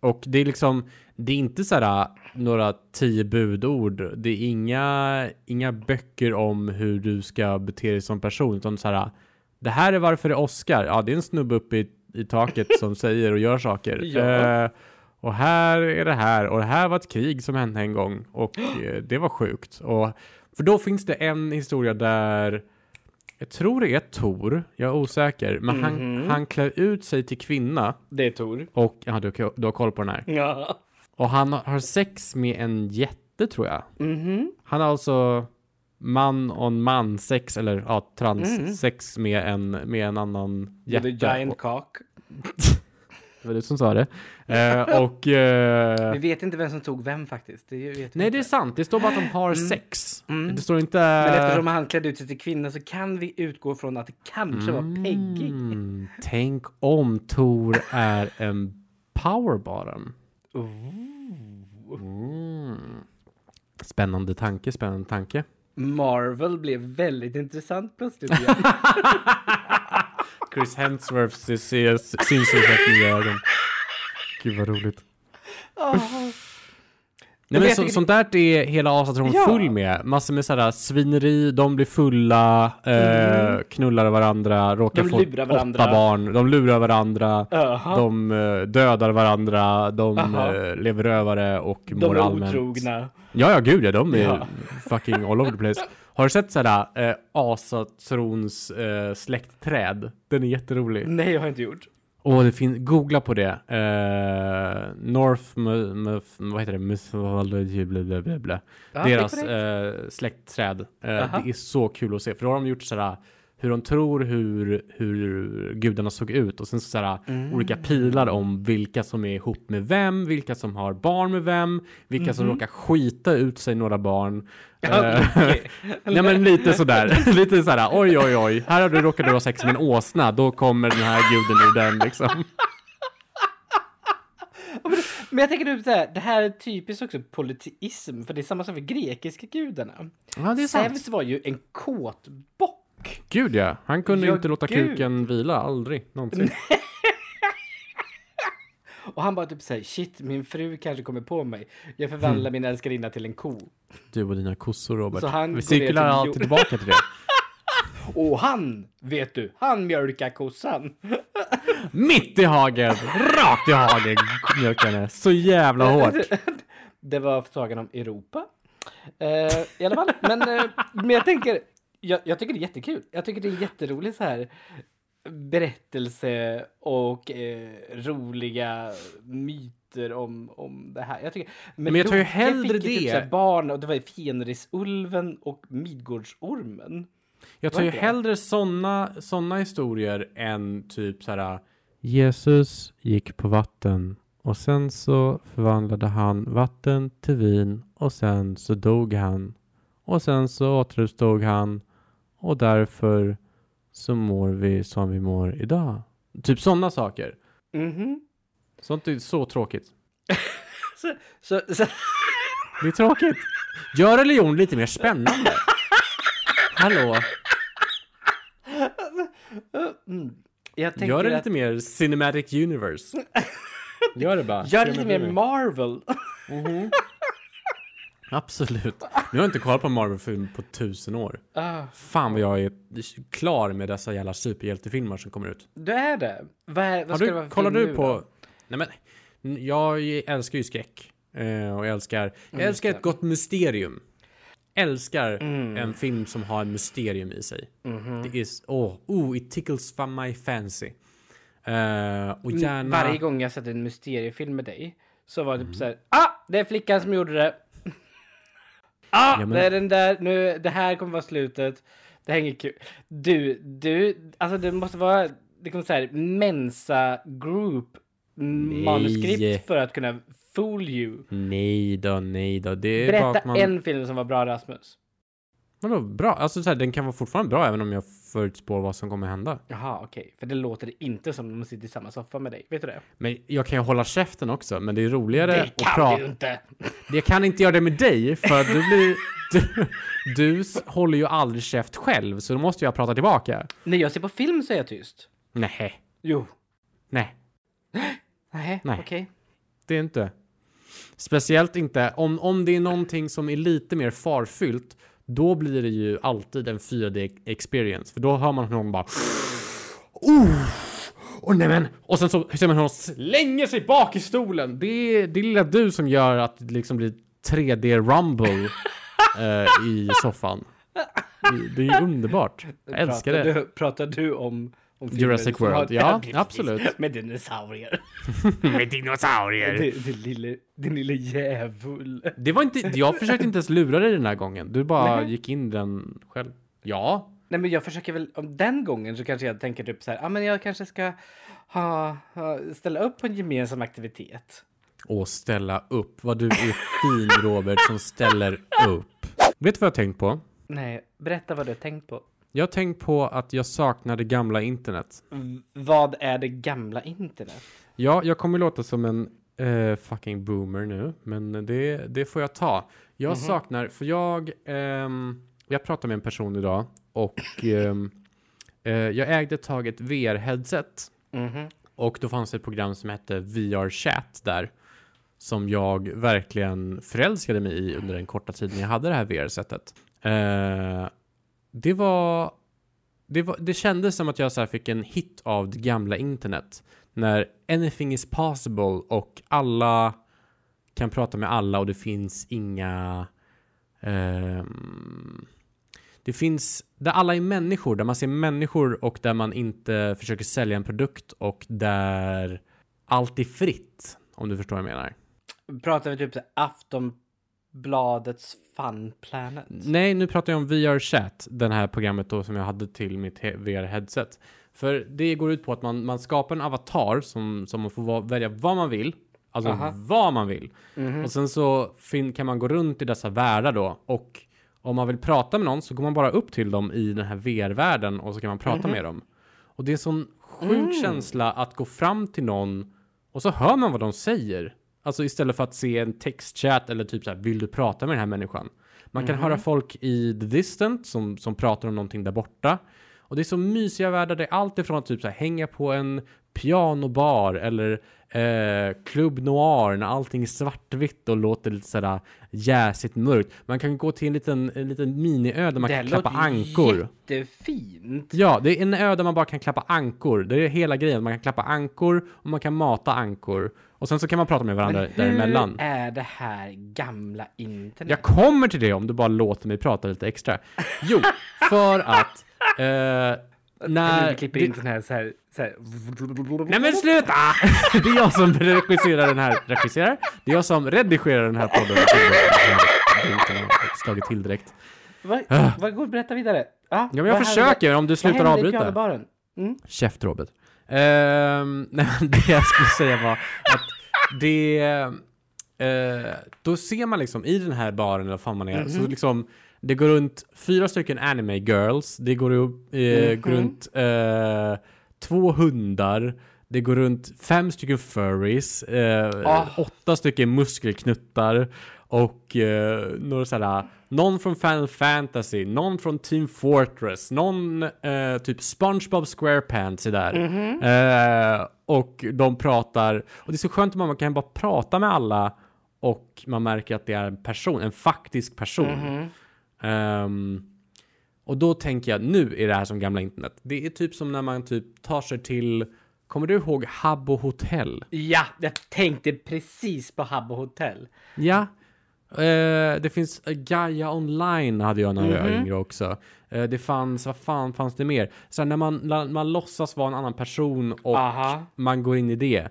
Speaker 1: Och det är liksom, det är inte så här äh, några tio budord. Det är inga, inga böcker om hur du ska bete dig som person, utan så här. äh, Det här är varför det är Oscar. Ja, det är en snubbe uppe i, i taket som säger och gör saker.
Speaker 2: Ja.
Speaker 1: Eh, och här är det här och det här var ett krig som hände en gång och eh, det var sjukt. Och, för då finns det en historia där jag tror det är Tor, jag är osäker, men han, han klär ut sig till kvinna
Speaker 2: Det är Tor.
Speaker 1: och, ja du, du har koll på den här.
Speaker 2: Ja.
Speaker 1: Och han har sex med en jätte tror jag. Han har alltså man on man sex eller ja, trans sex med en, med en annan jätte.
Speaker 2: Mm. The Giant Cock.
Speaker 1: Det var du som sa det.
Speaker 2: (laughs)
Speaker 1: Eh, och... eh,
Speaker 2: Vi vet inte vem som tog vem faktiskt. Det vet vi
Speaker 1: nej
Speaker 2: inte.
Speaker 1: det är sant, det står bara att de har sex. Det står inte...
Speaker 2: Mm. Men eftersom han klädde ut sig till kvinna så kan vi utgå från att det kanske var Peggy.
Speaker 1: Mm, tänk om Tor är en power bottom. Mm. Spännande tanke, spännande tanke.
Speaker 2: Marvel blev väldigt intressant (laughs) plötsligt igen.
Speaker 1: Chris Hemsworth ser- ser- syns i helt nya ögon. Gud vad roligt. Nej, men
Speaker 2: jag
Speaker 1: så,
Speaker 2: tycker-
Speaker 1: sånt där är hela asatron
Speaker 2: Ja.
Speaker 1: full med. Massor med sådär svineri, de blir fulla, eh, knullar varandra, råkar
Speaker 2: Mm. De
Speaker 1: få
Speaker 2: lurar varandra.
Speaker 1: åtta barn, de lurar varandra,
Speaker 2: Jaha.
Speaker 1: de eh, dödar varandra, de
Speaker 2: Aha.
Speaker 1: eh, lever rövare och
Speaker 2: De
Speaker 1: mår
Speaker 2: är
Speaker 1: allmänt.
Speaker 2: otrogna.
Speaker 1: Ja, ja, gud ja, de är
Speaker 2: Ja.
Speaker 1: fucking all over the place. Har du sett sådär eh, asatrons eh, släktträd? Den är jätterolig.
Speaker 2: Nej, jag har inte gjort.
Speaker 1: Åh, det finns, googla på det. Eh, North, mu- mu- vad heter det, mythology, bla bla bla bla.
Speaker 2: Ja, det är
Speaker 1: Deras
Speaker 2: korrekt.
Speaker 1: eh, släktträd. Eh,
Speaker 2: Aha.
Speaker 1: det är så kul att se, för då har de gjort sådär hur de tror hur, hur gudarna såg ut och sen så sådär,
Speaker 2: Mm.
Speaker 1: olika pilar om vilka som är ihop med vem, vilka som har barn med vem, vilka som råkar skita ut sig några barn.
Speaker 2: (laughs) Mhm. Ja,
Speaker 1: Eh,
Speaker 2: okej.
Speaker 1: (laughs)
Speaker 2: (laughs)
Speaker 1: Nej men lite sådär, (laughs) lite sådär oj oj oj, här har du råkat ha sex med en åsna, då kommer den här guden ur den liksom.
Speaker 2: Men jag tänker typ så här, det här är typiskt också politism, för det är samma sak för grekiska gudarna.
Speaker 1: Ja det är sant.
Speaker 2: Zeus var ju en kåtbock.
Speaker 1: Gud ja, han kunde
Speaker 2: Ja,
Speaker 1: inte låta
Speaker 2: gud.
Speaker 1: kuken vila, aldrig någonsin.
Speaker 2: Och han bara typ såhär, shit min fru kanske kommer på mig. Jag
Speaker 1: Mm.
Speaker 2: förvandlar min älskarinna till en ko.
Speaker 1: Du och dina kossor Robert.
Speaker 2: Så han går
Speaker 1: Vi
Speaker 2: ner
Speaker 1: cirkular
Speaker 2: till
Speaker 1: alltid
Speaker 2: jord.
Speaker 1: tillbaka
Speaker 2: (laughs)
Speaker 1: till det.
Speaker 2: Och han, vet du, han mjölkar kossan.
Speaker 1: Mitt i hagen, rakt i hagen mjölkar henne. Så jävla hårt.
Speaker 2: Det var frågan om Europa. Eh, I alla fall, men, eh, men jag tänker, jag, jag tycker det är jättekul. Jag tycker det är jätteroligt så här berättelse och eh, roliga myter om, om det här. Jag tycker,
Speaker 1: Men jag tar ju
Speaker 2: Loke
Speaker 1: hellre
Speaker 2: fick ju
Speaker 1: det.
Speaker 2: Typ så här barn och det var ju Fenrisulven och Midgårdsormen.
Speaker 1: Jag tar ju
Speaker 2: Verkligen.
Speaker 1: hellre såna, såna historier än typ så här. Jesus gick på vatten och sen så förvandlade han vatten till vin och sen så dog han. Och sen så återuppstod han och därför så mår vi som vi mår idag. Typ såna saker.
Speaker 2: Mhm.
Speaker 1: Sånt är så tråkigt.
Speaker 2: Så, så, så,
Speaker 1: Det är tråkigt. Gör religion lite mer spännande. Hallå,
Speaker 2: mm. Jag tänker
Speaker 1: gör det
Speaker 2: att,
Speaker 1: lite mer cinematic universe. Gör det bara.
Speaker 2: gör det lite mer
Speaker 1: Cinematic
Speaker 2: Marvel.
Speaker 1: Ah. Absolut. Nu har jag inte kollat på Marvel-film på tusen år.
Speaker 2: Ah.
Speaker 1: Fan vad jag är klar med dessa jävla superhjältefilmer som kommer ut.
Speaker 2: Du är det? Vad, är- vad
Speaker 1: Har
Speaker 2: ska det vara
Speaker 1: du,
Speaker 2: för
Speaker 1: kollar
Speaker 2: film
Speaker 1: du
Speaker 2: nu
Speaker 1: på... Nej men, n- jag älskar ju skräck. Eh, och jag älskar, jag
Speaker 2: Mm,
Speaker 1: älskar ett gott mysterium. Älskar
Speaker 2: Mm.
Speaker 1: en film som har en mysterium i sig.
Speaker 2: Mhm.
Speaker 1: Det är, s- åh, oh, it tickles from my fancy. Eh, och
Speaker 2: då?
Speaker 1: gärna...
Speaker 2: Mm, Varje gång jag sett en mysteriefilm med dig så var det typ såhär Ah! Det är flickan som gjorde det! (laughs) Ah!
Speaker 1: Ja, men-
Speaker 2: Det är den där, nu, det här kommer vara slutet. Det här är inget kul. Du, du, alltså det måste vara, det kommer såhär Mensa Group
Speaker 1: Nej.
Speaker 2: manuskript för att kunna Fool you.
Speaker 1: Nej då, nej då. Det är bara
Speaker 2: Berätta
Speaker 1: att man...
Speaker 2: en film som var bra Rasmus.
Speaker 1: Vadå bra? Alltså så här, den kan vara fortfarande bra även om jag förutspår vad som kommer hända.
Speaker 2: Jaha, okej. För det låter inte som om man sitter i samma soffa med dig. Vet du det?
Speaker 1: Men jag kan ju hålla käften också, men det är roligare
Speaker 2: Det
Speaker 1: att
Speaker 2: kan
Speaker 1: prata.
Speaker 2: du ju inte!
Speaker 1: Jag kan inte göra det med dig, för att du blir... Du, du s- håller ju aldrig käft själv, så då måste jag prata tillbaka.
Speaker 2: När jag ser på film så är jag tyst.
Speaker 1: Nej,
Speaker 2: Jo.
Speaker 1: nej,
Speaker 2: Nej,
Speaker 1: Nej.
Speaker 2: okej.
Speaker 1: det är inte. Speciellt inte om, om det är någonting som är lite mer farfyllt. Då blir det ju alltid en 4D experience, för då hör man någon bara... Oh! Och nej men! Och sen så ser man hur hon slänger sig bak i stolen. Det är det är lilla du som gör att det liksom blir 3D rumble eh, i soffan. Det, det är ju underbart. Jag älskar
Speaker 2: pratar
Speaker 1: det.
Speaker 2: Du, pratar du om, om filmer
Speaker 1: Jurassic
Speaker 2: som har-
Speaker 1: World, ja,
Speaker 2: precis.
Speaker 1: absolut. (laughs)
Speaker 2: Med dinosaurier.
Speaker 1: Med dinosaurier!
Speaker 2: Den, den lille, den lille djävul.
Speaker 1: Det var inte, jag försökte inte ens lura dig den här gången. Du bara gick in den själv. Ja,
Speaker 2: Nej men jag försöker väl, om den gången så kanske jag tänker typ så här, ja ah, men jag kanske ska ha, ha, ställa upp på en gemensam aktivitet.
Speaker 1: och ställa upp. Vad du är fin Robert som ställer upp. Vet du vad jag har tänkt på?
Speaker 2: Nej, berätta vad du har tänkt på.
Speaker 1: Jag har tänkt på att jag saknar det gamla internet.
Speaker 2: V- vad är det gamla internet?
Speaker 1: Ja, jag kommer låta som en eh, fucking boomer nu, men det, det får jag ta. Jag saknar, för jag, ehm, jag pratade med en person idag och ehm, eh, jag ägde ett tag ett VR-headset
Speaker 2: Mhm.
Speaker 1: och då fanns det ett program som hette VR Chat där som jag verkligen förälskade mig i under den korta tiden jag hade det här VR-sättet. Eh, det var det, var, det kändes som att jag så här fick en hit av det gamla internet. När anything is possible och alla kan prata med alla och det finns inga... ehm, det finns... Där alla är människor, där man ser människor och där man inte försöker sälja en produkt och där allt är fritt. Om du förstår vad jag menar.
Speaker 2: Pratar vi typ så här, Aftonbladets Fun Planet?
Speaker 1: Nej, nu pratar jag om VR Chat, den här programmet då som jag hade till mitt VR-headset. För det går ut på att man, man skapar en avatar som, som man får va- välja vad man vill. Alltså
Speaker 2: Aha.
Speaker 1: vad man vill. Och sen så fin, kan man gå runt i dessa världar då. Och om man vill prata med någon så går man bara upp till dem i den här VR-världen och så kan man prata med dem. Och det är en sån sjuk känsla att gå fram till någon och så hör man vad de säger. Alltså istället för att se en textchat eller typ så här, vill du prata med den här människan? Man kan höra folk i the distant som, som pratar om någonting där borta. Och det är så mysiga världar, det är allt ifrån att typ så här, hänga på en pianobar eller eh, Club Noir när allting är svartvitt och låter lite sådär jäsigt mörkt. Man kan gå till en liten, en liten miniö där man kan klappa ankor.
Speaker 2: jättefint.
Speaker 1: Ja, det är en ö där man bara kan klappa ankor. Det är hela grejen. Man kan klappa ankor och man kan mata ankor. Och sen så kan man prata med varandra däremellan.
Speaker 2: Hur är det här gamla internet?
Speaker 1: Jag kommer till det om du bara låter mig prata lite extra. Jo, för att... Eh,
Speaker 2: Eller
Speaker 1: när...
Speaker 2: vi klipper in sån här, så här, så här.
Speaker 1: Nej men sluta! (laughs) Det är jag som regisserar den här, regisserar? Det är jag som redigerar den här
Speaker 2: (laughs)
Speaker 1: podden. Slagit till direkt.
Speaker 2: Vad, vad går, berätta vidare. Ja,
Speaker 1: Ah. Ja men jag
Speaker 2: vad
Speaker 1: försöker om du
Speaker 2: hände-
Speaker 1: slutar
Speaker 2: vad hände i
Speaker 1: avbryta.
Speaker 2: pianobaren? Mm.
Speaker 1: Käft Robert. Ehm, (laughs) nej, men det jag skulle säga var att det... eh, då ser man liksom i den här baren eller vad fan man är, så liksom det går runt fyra stycken anime girls, det går, upp, eh, går runt eh, två hundar, det går runt fem stycken furries, eh,
Speaker 2: Ah.
Speaker 1: åtta stycken muskelknuttar och eh, några sådär, någon från Final Fantasy, någon från Team Fortress, någon eh, typ SpongeBob SquarePants är där. Eh, och de pratar, och det är så skönt att man kan bara prata med alla och man märker att det är en person, en faktisk person. Ehm, och då tänker jag, nu är det här som gamla internet. Det är typ som när man typ tar sig till, kommer du ihåg Habbo Hotel?
Speaker 2: Ja, jag tänkte precis på Habbo Hotel.
Speaker 1: Ja. Eh, det finns eh, Gaia online hade jag när jag var yngre också. Eh, det fanns, vad fan fanns det mer? Sen när man, la- man låtsas vara en annan person och
Speaker 2: Aha.
Speaker 1: man går in i det.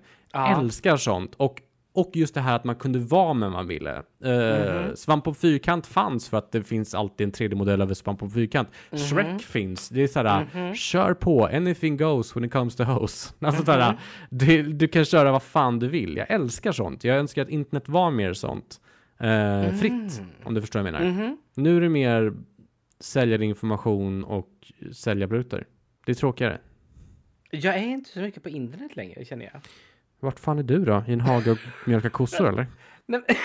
Speaker 1: Älskar sånt. Och Och just det här att man kunde vara med man ville. Eh, Svamp på fyrkant fanns för att det finns alltid en 3D-modell över Svamp på fyrkant. Shrek finns. Det är såhär, kör på, anything goes when it comes to hoes. (laughs) Alltså såhär, du, du kan köra vad fan du vill. Jag älskar sånt. Jag önskar att internet var mer sånt. eh, Fritt, om du förstår vad jag menar. Nu är det mer sälja din information och sälja brutor. Det är tråkigare.
Speaker 2: Jag är inte så mycket på internet längre känner jag.
Speaker 1: Vart fan är du då? I en hage och mjölkar kossor eller?
Speaker 2: Nej, men...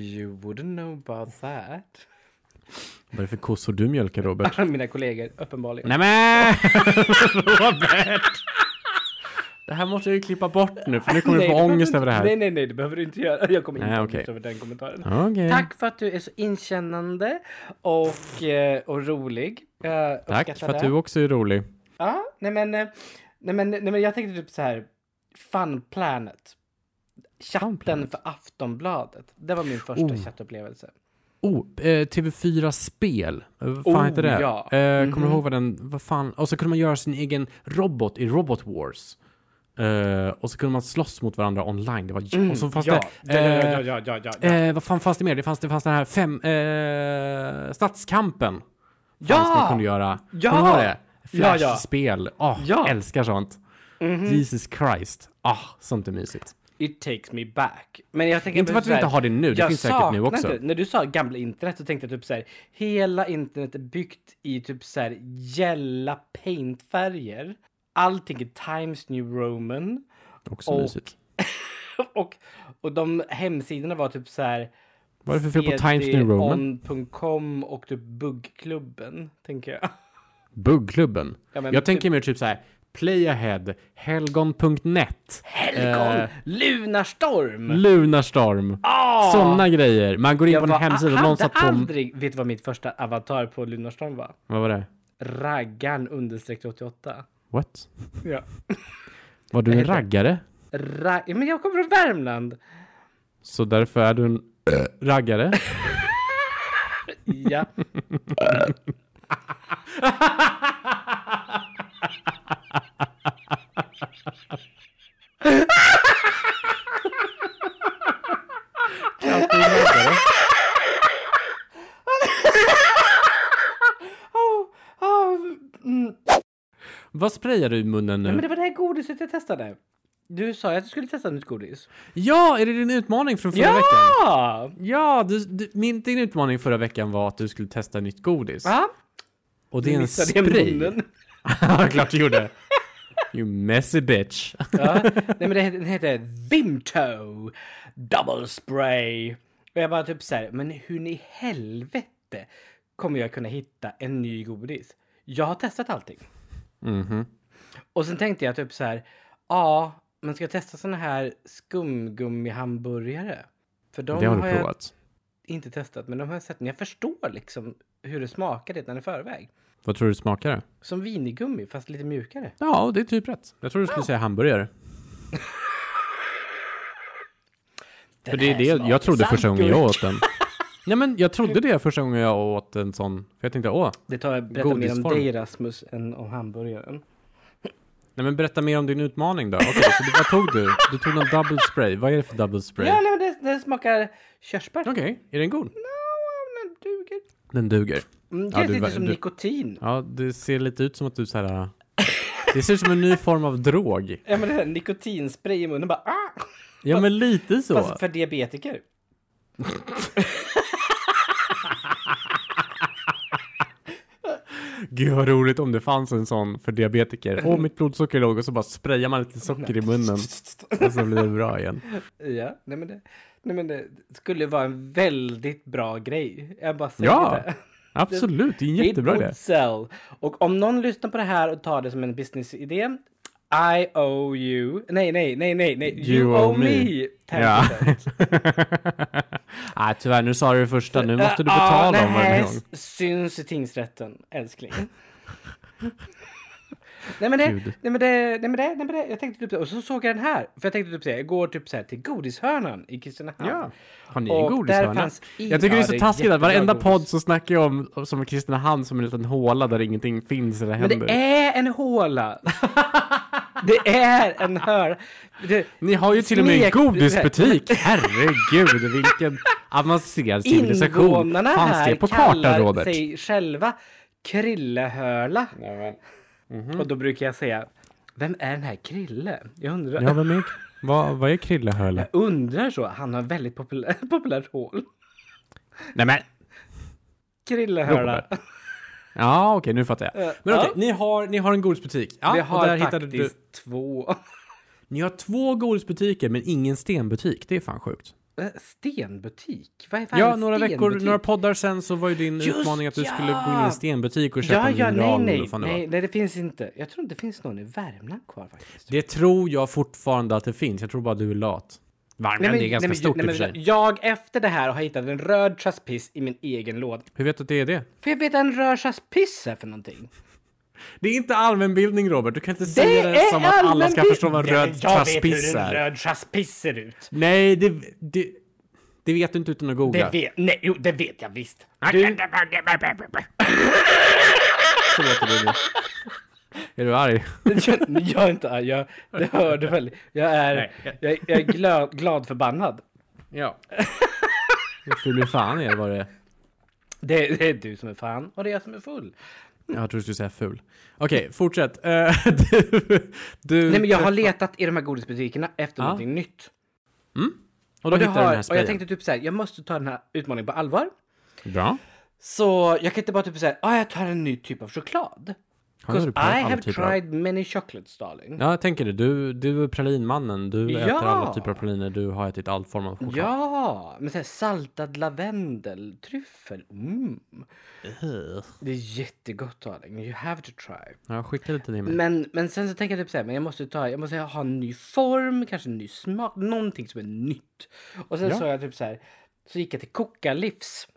Speaker 2: You wouldn't know about that. (laughs)
Speaker 1: Vad är det för kossor du mjölkar Robert?
Speaker 2: Mina kollegor,
Speaker 1: (laughs)
Speaker 2: uppenbarligen.
Speaker 1: Nej men! (laughs) Robert! Det här måste jag ju klippa bort nu för nu kommer du få
Speaker 2: behöver
Speaker 1: ångest
Speaker 2: inte-
Speaker 1: över det
Speaker 2: Nej,
Speaker 1: här.
Speaker 2: nej, nej, det behöver du inte göra. Jag kommer inte
Speaker 1: Nej,
Speaker 2: ha
Speaker 1: okej.
Speaker 2: ångest över den kommentaren.
Speaker 1: Okej.
Speaker 2: Tack för att du är så inkännande och, eh, och rolig. Eh,
Speaker 1: Tack
Speaker 2: uppskattar
Speaker 1: för att
Speaker 2: det.
Speaker 1: du också är rolig.
Speaker 2: Ja, nej men, eh, nej men, nej men jag tänkte typ så här. Fun Planet. Chatten
Speaker 1: Fun Planet.
Speaker 2: för Aftonbladet. Det var min första
Speaker 1: Oh.
Speaker 2: chattupplevelse.
Speaker 1: Oh, eh, TV4 Spel. Eh, Vad fan
Speaker 2: Oh,
Speaker 1: hette det?
Speaker 2: ja. Mhm.
Speaker 1: Eh, kommer du ihåg vad den, vad fan, och så kunde man göra sin egen robot i Robot Wars. Eh, och så kunde man slåss mot varandra online. Det var, och så fanns Alltså, det... eh,
Speaker 2: Mm, ja, ja, ja, ja.
Speaker 1: Eh, vad fan fanns det mer? Det fanns, det fanns den här fem... Eh, stadskampen.
Speaker 2: Ja!
Speaker 1: Fanns man kunde göra.
Speaker 2: Ja!
Speaker 1: Kommer du ihåg det?
Speaker 2: Ja, ja.
Speaker 1: Flashspel. Ah,
Speaker 2: Ja. Mhm.
Speaker 1: Älskar sånt. Jesus Christ. Ah, sånt är mysigt.
Speaker 2: It takes me back. Men jag tänker typ
Speaker 1: Inte för att vi
Speaker 2: så här,
Speaker 1: inte har det nu, det
Speaker 2: jag
Speaker 1: finns säkert nu
Speaker 2: saknar
Speaker 1: också.
Speaker 2: Inte. När du sa gamla internet så tänkte jag typ så här. Hela internet är byggt i typ så här gälla paintfärger. Allting är Times New Roman.
Speaker 1: Också
Speaker 2: Och-
Speaker 1: mysigt.
Speaker 2: och, och de hemsidorna var typ så här.
Speaker 1: Vad är det för fel på Times New Roman?
Speaker 2: on.com och typ buggklubben, tänker jag. (laughs)
Speaker 1: Buggklubben.
Speaker 2: Ja, men
Speaker 1: jag
Speaker 2: typ-
Speaker 1: tänker mer typ så här. Playahead, helgon.net,
Speaker 2: Helgon! Eh. Lunarstorm!
Speaker 1: Lunarstorm.
Speaker 2: Ah!
Speaker 1: Såna grejer. Man går in på en hemsida och någon
Speaker 2: hade
Speaker 1: satt på...
Speaker 2: aldrig... Vet du vad mitt första avatar på Lunarstorm var?
Speaker 1: Vad var det?
Speaker 2: Raggarn understreck 88.
Speaker 1: What?
Speaker 2: Ja.
Speaker 1: Var du en raggare?
Speaker 2: Ra- ja, men jag kommer från Värmland!
Speaker 1: Så därför är du en raggare? (laughs)
Speaker 2: Ja. (laughs) Oh, oh, mm.
Speaker 1: Vad sprayar du i munnen nu?
Speaker 2: Men det var det här godiset jag testade. Du sa ju att du skulle testa nytt godis.
Speaker 1: Ja, är det din utmaning från förra veckan?
Speaker 2: Ja!
Speaker 1: Ja, du, du, min, din utmaning förra veckan var att du skulle testa nytt godis.
Speaker 2: Va?
Speaker 1: Och det är en
Speaker 2: Missade jag
Speaker 1: spray.
Speaker 2: munnen?
Speaker 1: (laughs) Ja, klart du gjorde. You messy bitch.
Speaker 2: Ja. Nej men det heter, den heter Vimto Double Spray. Och jag bara typ så här, men hur i helvete kommer jag kunna hitta en ny godis? Jag har testat allting.
Speaker 1: Mhm.
Speaker 2: Och sen tänkte jag typ så här, ja, men ska jag testa såna här skumgummihamburgare? För de
Speaker 1: Det har
Speaker 2: har,
Speaker 1: du
Speaker 2: jag
Speaker 1: provat.
Speaker 2: inte testat, men de har jag sett. Men jag förstår liksom hur det smakar redan i förväg.
Speaker 1: Vad tror du smakar det?
Speaker 2: Som vinigummi, fast lite mjukare.
Speaker 1: Ja, det är typ rätt. Jag tror du skulle säga hamburgare. För
Speaker 2: Den
Speaker 1: det är
Speaker 2: här
Speaker 1: det
Speaker 2: smakar
Speaker 1: jag trodde första gången jag
Speaker 2: sandwich.
Speaker 1: åt den. Äh, (laughs) Nej men jag trodde det första gången jag åt en sån. För jag tänkte, åh.
Speaker 2: Det tar jag berätta mer om
Speaker 1: Godisform.
Speaker 2: dig Rasmus än om hamburgaren.
Speaker 1: Nej men berätta mer om din utmaning då. Okej, så det, vad tog du? Du tog någon double spray. Vad är det för double spray?
Speaker 2: Ja, nej, men det, det smakar körsbär.
Speaker 1: Okej, är den god?
Speaker 2: Den duger.
Speaker 1: Den duger.
Speaker 2: Mm, det
Speaker 1: Ja,
Speaker 2: är
Speaker 1: du-
Speaker 2: lite som
Speaker 1: du-
Speaker 2: nikotin.
Speaker 1: Ja, det ser lite ut som att du så här. äh, Det ser ut som en ny form av drog.
Speaker 2: Ja, men det här nikotinspray i munnen bara ah!
Speaker 1: Ja, men lite så.
Speaker 2: Fast för diabetiker.
Speaker 1: Gud vad roligt om det fanns en sån för diabetiker. Åh, mitt blodsocker låg och så bara sprayar man lite socker i munnen och så blir det bra igen.
Speaker 2: Ja, nej men det, nej, men det skulle vara en väldigt bra grej. Jag bara säger
Speaker 1: Ja,
Speaker 2: det.
Speaker 1: absolut. Det är en jättebra
Speaker 2: It
Speaker 1: idé.
Speaker 2: would sell. Och om någon lyssnar på det här och tar det som en businessidé. I owe you. Nej, nej, nej, nej, nej. You, owe me.
Speaker 1: Ja.
Speaker 2: 10%.
Speaker 1: (laughs) Nej, tyvärr, nu sa du det första. Nu måste du
Speaker 2: Ja,
Speaker 1: betala
Speaker 2: det
Speaker 1: om
Speaker 2: här
Speaker 1: varje gång.
Speaker 2: syns i tingsrätten, älskling. nej, men det,
Speaker 1: Gud.
Speaker 2: nej men det, nej men det, nej men det, jag tänkte typ det. och så såg jag den här. För jag tänkte typ säga, jag går typ så här till godishörnan i Kristinehamn.
Speaker 1: Ja. Har ni
Speaker 2: Och
Speaker 1: en
Speaker 2: där
Speaker 1: godishörna?
Speaker 2: fanns i-
Speaker 1: Jag tycker det är
Speaker 2: Ja,
Speaker 1: så
Speaker 2: det är
Speaker 1: taskigt att
Speaker 2: jättebra
Speaker 1: varenda
Speaker 2: godis.
Speaker 1: podd så snackar jag om som Kristinehamn som en liten håla där ingenting finns eller
Speaker 2: Men
Speaker 1: händer.
Speaker 2: det är en håla! Det är en hörna. Det-
Speaker 1: Ni har ju till och med en
Speaker 2: Smek-
Speaker 1: godisbutik!
Speaker 2: (laughs)
Speaker 1: Herregud, vilken avancerad civilisation
Speaker 2: Invånarna
Speaker 1: fanns
Speaker 2: här
Speaker 1: det på kartan,
Speaker 2: kallar
Speaker 1: Robert?
Speaker 2: sig själva Krillehöla. Och då brukar jag säga, vem är den här Krille? Jag undrar.
Speaker 1: Ja, vem är, vad, vad är Krillehöla?
Speaker 2: Jag undrar så. Han har väldigt populär, (laughs) populärt hål.
Speaker 1: Nej men!
Speaker 2: Krillehöla.
Speaker 1: Robert. Ja, okej, nu fattar jag. Men okej,
Speaker 2: Ja.
Speaker 1: ni, har, ni har en godisbutik. Ja,
Speaker 2: Vi
Speaker 1: och där
Speaker 2: har
Speaker 1: hittade du...
Speaker 2: faktiskt två
Speaker 1: Ni har två godisbutiker, men ingen stenbutik. Det är fan sjukt.
Speaker 2: Eh, stenbutik. Vad är fan
Speaker 1: Ja,
Speaker 2: en
Speaker 1: några
Speaker 2: stenbutik?
Speaker 1: veckor, några poddar sen så var ju din
Speaker 2: Just
Speaker 1: utmaning att du
Speaker 2: ja!
Speaker 1: skulle gå in i en stenbutik och köpa
Speaker 2: Ja, ja, nej,
Speaker 1: mineral
Speaker 2: nej,
Speaker 1: eller vad det var.
Speaker 2: nej, nej, det finns inte. Jag tror inte det finns någon i Värmland kvar faktiskt.
Speaker 1: Det tror jag fortfarande att det finns. Jag tror bara du är lat. Värmland är ganska
Speaker 2: men-
Speaker 1: stort
Speaker 2: nej,
Speaker 1: i och
Speaker 2: men
Speaker 1: för sig.
Speaker 2: Jag efter det här har hittat en röd chaspiss i min egen låda.
Speaker 1: Hur vet du att det är det?
Speaker 2: För jag vet att en röd chaspiss är för någonting.
Speaker 1: Det är inte allmänbildning Robert. Du kan inte
Speaker 2: Det
Speaker 1: säga det
Speaker 2: är
Speaker 1: som att alla ska
Speaker 2: allmänbild-
Speaker 1: förstå vad en
Speaker 2: Nej,
Speaker 1: röd tasspiss
Speaker 2: Jag vet
Speaker 1: är.
Speaker 2: hur en röd chaspiss ser ut.
Speaker 1: Nej, det, det, det vet du inte utan att
Speaker 2: Det
Speaker 1: googla.
Speaker 2: vet, nej, jo, det vet jag visst. Du,
Speaker 1: (laughs) Så låter det nu. Är du arg?
Speaker 2: (laughs) jag är inte arg, jag, det hör du väl. Jag är,
Speaker 1: Nej.
Speaker 2: jag, jag är glad, glad förbannad.
Speaker 1: Ja. (laughs) Ful i fan är vad det är.
Speaker 2: Det, det är du som är fan och det är jag som är full.
Speaker 1: Jag tror du skulle säga ful. Okej, fortsätt. Eh, (laughs) du, du,
Speaker 2: Nej men jag har letat i de här godisbutikerna efter
Speaker 1: Ja.
Speaker 2: någonting nytt.
Speaker 1: och då
Speaker 2: Och, det
Speaker 1: hittade du den här
Speaker 2: har, och
Speaker 1: sprayen.
Speaker 2: jag tänkte typ såhär, jag måste ta den här utmaningen på allvar.
Speaker 1: Bra.
Speaker 2: Så jag kan inte bara typ säga, ah, jag tar en ny typ av choklad.
Speaker 1: Har du
Speaker 2: Because
Speaker 1: provat
Speaker 2: I
Speaker 1: alla
Speaker 2: have
Speaker 1: typer av-
Speaker 2: tried many chocolates darling.
Speaker 1: Ja, jag tänker det. Du, du är pralinmannen. Du
Speaker 2: Ja.
Speaker 1: äter alla typer av praliner. Du har ätit all form av choklad.
Speaker 2: Ja, men såhär saltad lavendel, tryffel, mm. Det är jättegott darling, you have to try.
Speaker 1: Ja, jag skickade lite till mig.
Speaker 2: Men, men sen så tänker jag typ såhär, men jag måste, ta, jag måste ha en ny form, kanske en ny smak, någonting som är nytt. Och sen sa jag typ såhär, så gick jag till Kokalivs.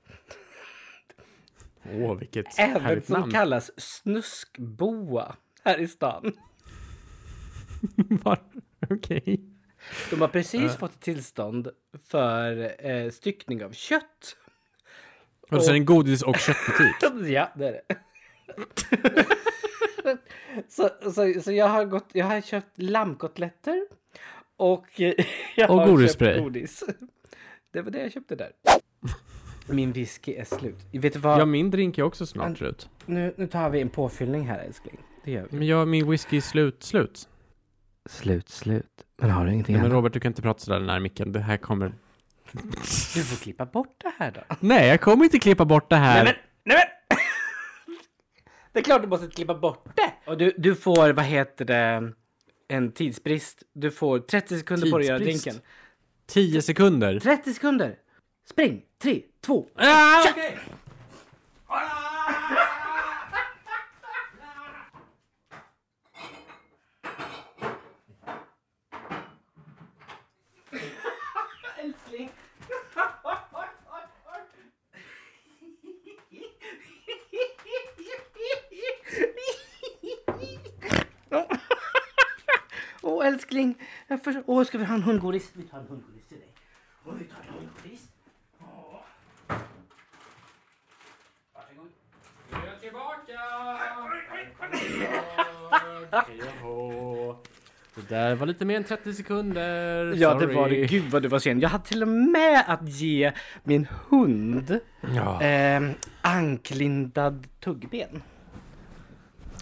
Speaker 1: Åh, vilket
Speaker 2: Även
Speaker 1: härligt
Speaker 2: som
Speaker 1: namn.
Speaker 2: kallas snuskboa här i stan.
Speaker 1: (laughs) Var- Okej.
Speaker 2: De har precis fått tillstånd för eh, styckning av kött.
Speaker 1: Och sen en godis och köttbutik.
Speaker 2: (laughs) Ja, det är det. så, så, så jag har gått, jag har köpt lammkotletter och (laughs) eh, jag
Speaker 1: Och
Speaker 2: har
Speaker 1: godisspray.
Speaker 2: köpt godis. (laughs) Det var det jag köpte där. Min whisky är slut. Vet du vad?
Speaker 1: Ja, min drink är också snart slut.
Speaker 2: Nu, nu tar vi en påfyllning här älskling. Det gör vi.
Speaker 1: Men jag, min whisky är slut, slut.
Speaker 2: Slut, slut. Men har du ingenting
Speaker 1: Men
Speaker 2: annat?
Speaker 1: Robert, du kan inte prata sådär nära micken. Det här kommer...
Speaker 2: Du får klippa bort det här då.
Speaker 1: Nej, jag kommer inte klippa bort det här.
Speaker 2: Nej men, nej men! (laughs) Det är klart du måste klippa bort det! Och du, du får, vad heter det, en tidsbrist. Du får 30 sekunder på dig att göra
Speaker 1: Tidsbrist?
Speaker 2: drinken.
Speaker 1: Tio sekunder.
Speaker 2: 30 sekunder! Spring! 3, 2,
Speaker 1: Ah, okej.
Speaker 2: Åh älskling! Jag för... Åh, ska vi ha en hundgodis? Vi tar en hundgodis till dig. Och vi tar en hundgodis. Åh. Varsågod.
Speaker 1: Det där var lite mer än 30 sekunder.
Speaker 2: Ja,
Speaker 1: Sorry.
Speaker 2: det var det. Gud vad du var sen. Jag hade till och med att ge min hund
Speaker 1: Ja.
Speaker 2: eh, anklindad tuggben.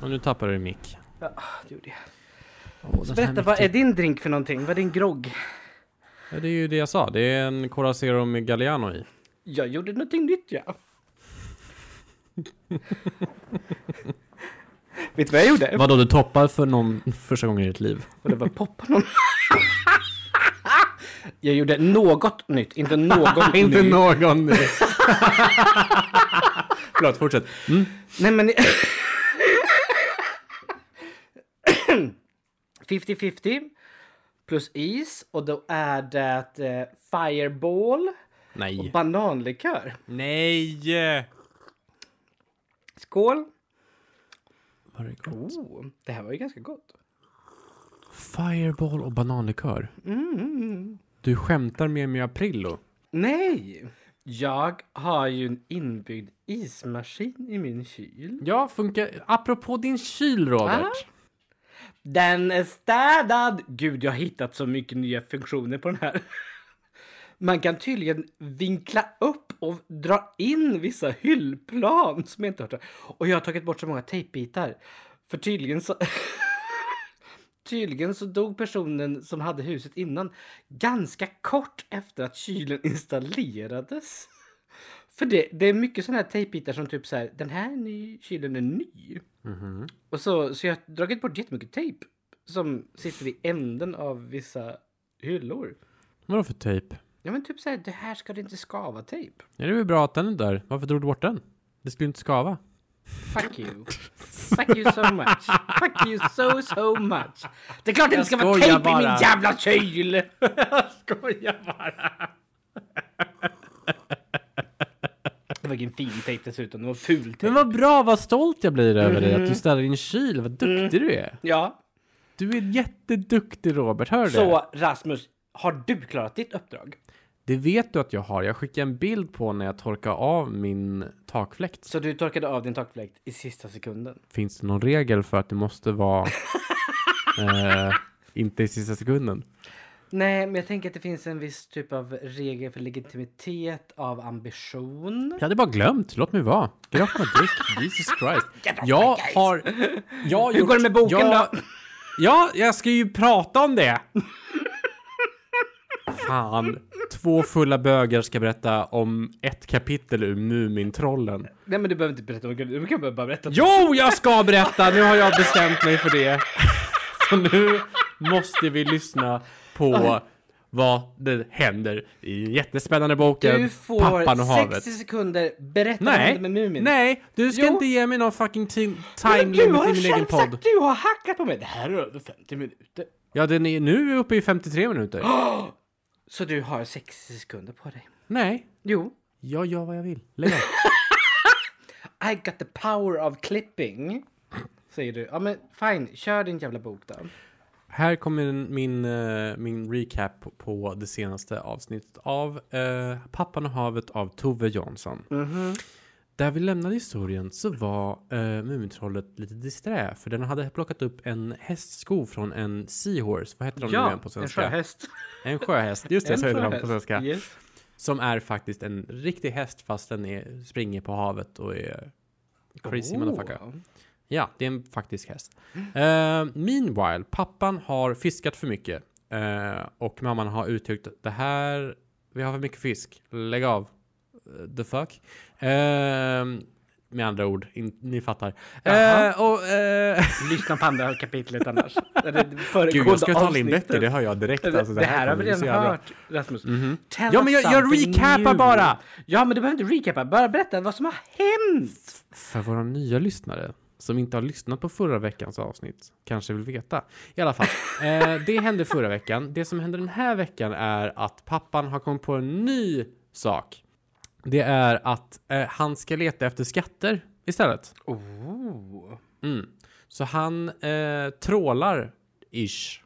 Speaker 1: Och nu tappar du din mick.
Speaker 2: Ja, det gjorde jag. Berätta, vad är din drink för någonting? Vad är din grogg?
Speaker 1: Ja, det är ju det jag sa. Det är en Corazero med Galliano i.
Speaker 2: Jag gjorde någonting nytt, ja. (laughs) Vet du vad jag gjorde?
Speaker 1: Vadå, du toppar för någon första gången i ditt liv?
Speaker 2: Och det var poppa någon. (laughs) jag gjorde något nytt,
Speaker 1: (laughs)
Speaker 2: inte någon
Speaker 1: Inte
Speaker 2: ny.
Speaker 1: någon nu. Förlåt, fortsätt. Mm.
Speaker 2: Nej men... (laughs) 50-50 plus is och då är det eh, fireball och
Speaker 1: Nej.
Speaker 2: bananlikör.
Speaker 1: Nej!
Speaker 2: Skål!
Speaker 1: Var det gott?
Speaker 2: Oh, det här var ju ganska gott.
Speaker 1: Fireball och bananlikör.
Speaker 2: Mm.
Speaker 1: Du skämtar med mig Aprillo.
Speaker 2: Nej! Jag har ju en inbyggd ismaskin i min kyl.
Speaker 1: Ja, funkar. Apropå din kyl, Robert.
Speaker 2: Ah. Den är städad! Gud, jag har hittat så mycket nya funktioner på den här. Man kan tydligen vinkla upp och dra in vissa hyllplan som jag inte hört. Och jag har tagit bort så många tejpbitar. För tydligen så... (laughs) Tydligen så dog personen som hade huset innan ganska kort efter att kylen installerades. För det, det är mycket sådana här tejpbitar som typ så här, den här ny, kylen är ny. Och så, så jag har dragit bort jättemycket tejp som sitter i änden av vissa hyllor.
Speaker 1: Vadå för tejp?
Speaker 2: Ja men typ så här, det här ska det inte skava tejp.
Speaker 1: Ja, det är väl bra att den är där. Varför drog du bort den? Det skulle inte skava.
Speaker 2: Fuck you. Fuck you so much. Fuck you so so much. Det är klart det inte ska vara
Speaker 1: skojar
Speaker 2: tejp i
Speaker 1: bara.
Speaker 2: min
Speaker 1: (laughs)
Speaker 2: jävla kyl!
Speaker 1: Skoja bara!
Speaker 2: Det var ingen fin tejp dessutom, det Mm. var ful
Speaker 1: Men
Speaker 2: tejp.
Speaker 1: vad bra, vad stolt jag blir över dig att du städar din kyl. Vad duktig du är.
Speaker 2: Ja,
Speaker 1: Du är jätteduktig Robert, hör du det?
Speaker 2: så Rasmus, har du klarat ditt uppdrag?
Speaker 1: Det vet du att jag har. Jag skickade en bild på när jag torkade av min takfläkt.
Speaker 2: Så du torkade av din takfläkt i sista sekunden?
Speaker 1: Finns det någon regel för att det måste
Speaker 2: (laughs)
Speaker 1: vara eh, inte i sista sekunden?
Speaker 2: Nej, men jag tänker att det finns en viss typ av regel för legitimitet av ambition.
Speaker 1: Jag hade bara glömt, låt mig vara. Get off my dick, (laughs) Jesus Christ. Jag har... Jag har
Speaker 2: Hur går det med boken
Speaker 1: jag,
Speaker 2: då?
Speaker 1: Ja, jag ska ju prata om det! Fan. Två fulla bögar ska berätta om ett kapitel ur Mumintrollen.
Speaker 2: Nej, men du behöver inte berätta om det. Du kan bara berätta.
Speaker 1: Jo, jag ska berätta! Nu har jag bestämt mig för det. (laughs) Så nu måste vi lyssna på vad det händer i den jättespännande boken
Speaker 2: Du
Speaker 1: Pappan och
Speaker 2: får
Speaker 1: havet.
Speaker 2: 60 sekunder. Berätta vad
Speaker 1: Nej,
Speaker 2: hände med Mumin.
Speaker 1: nej, du ska
Speaker 2: Jo.
Speaker 1: inte ge mig någon fucking ti- time
Speaker 2: Men du
Speaker 1: limit
Speaker 2: har
Speaker 1: i min egen
Speaker 2: själv
Speaker 1: podd.
Speaker 2: sagt du har hackat på mig. Det här är över 50 minuter.
Speaker 1: Ja, den är, nu är vi uppe i 53 minuter. (gasps)
Speaker 2: Så du har 60 sekunder på dig.
Speaker 1: nej,
Speaker 2: Jo.
Speaker 1: jag gör vad jag vill.
Speaker 2: (laughs)
Speaker 1: Lägg av.
Speaker 2: I got the power of clipping. Säger du. Ja men fine, kör din jävla bok då.
Speaker 1: Här kommer min, min, eh, min recap på- på det senaste avsnittet av eh, Pappan och havet av Tove Jansson.
Speaker 2: Mhm.
Speaker 1: Där vi lämnade historien så var eh, Mumintrollet lite disträ för den hade plockat upp en hästsko från en seahorse. Vad heter de nu igen på svenska?
Speaker 2: en sjöhäst.
Speaker 1: En sjöhäst. Just det,
Speaker 2: En
Speaker 1: så heter de på
Speaker 2: sjöhäst,
Speaker 1: svenska.
Speaker 2: yes.
Speaker 1: Som är faktiskt en riktig häst fast den är, springer på havet och är crazy motherfucker.
Speaker 2: Oh.
Speaker 1: Ja, det är en faktisk häst. Eh, meanwhile, pappan har fiskat för mycket. Eh, och mamman har uttryckt det här, vi har för mycket fisk, lägg av. Eh, The fuck? Eh, med andra ord, in, ni fattar.
Speaker 2: Jaha.
Speaker 1: Eh, och, eh,
Speaker 2: Lyssna på andra kapitlet annars. Eller det föregående
Speaker 1: gud, jag ska tala in
Speaker 2: avsnittet.
Speaker 1: detta, det hör jag direkt.
Speaker 2: Det,
Speaker 1: Alltså,
Speaker 2: det här har
Speaker 1: kommer
Speaker 2: vi
Speaker 1: bli så
Speaker 2: redan
Speaker 1: jävla- Mhm.
Speaker 2: hört, Rasmus. Tell
Speaker 1: Ja,
Speaker 2: us
Speaker 1: men jag- jag
Speaker 2: something
Speaker 1: recapar
Speaker 2: new.
Speaker 1: bara.
Speaker 2: Ja, men du behöver inte recapa. Bara berätta vad som har hänt.
Speaker 1: För våra nya lyssnare som inte har lyssnat på förra veckans avsnitt kanske vill veta. I alla fall, eh, det hände förra veckan. Det som händer den här veckan är att pappan har kommit på en ny sak. Det är att eh, han ska leta efter skatter istället.
Speaker 2: Oh.
Speaker 1: Mm. Så han eh, trålar, ish.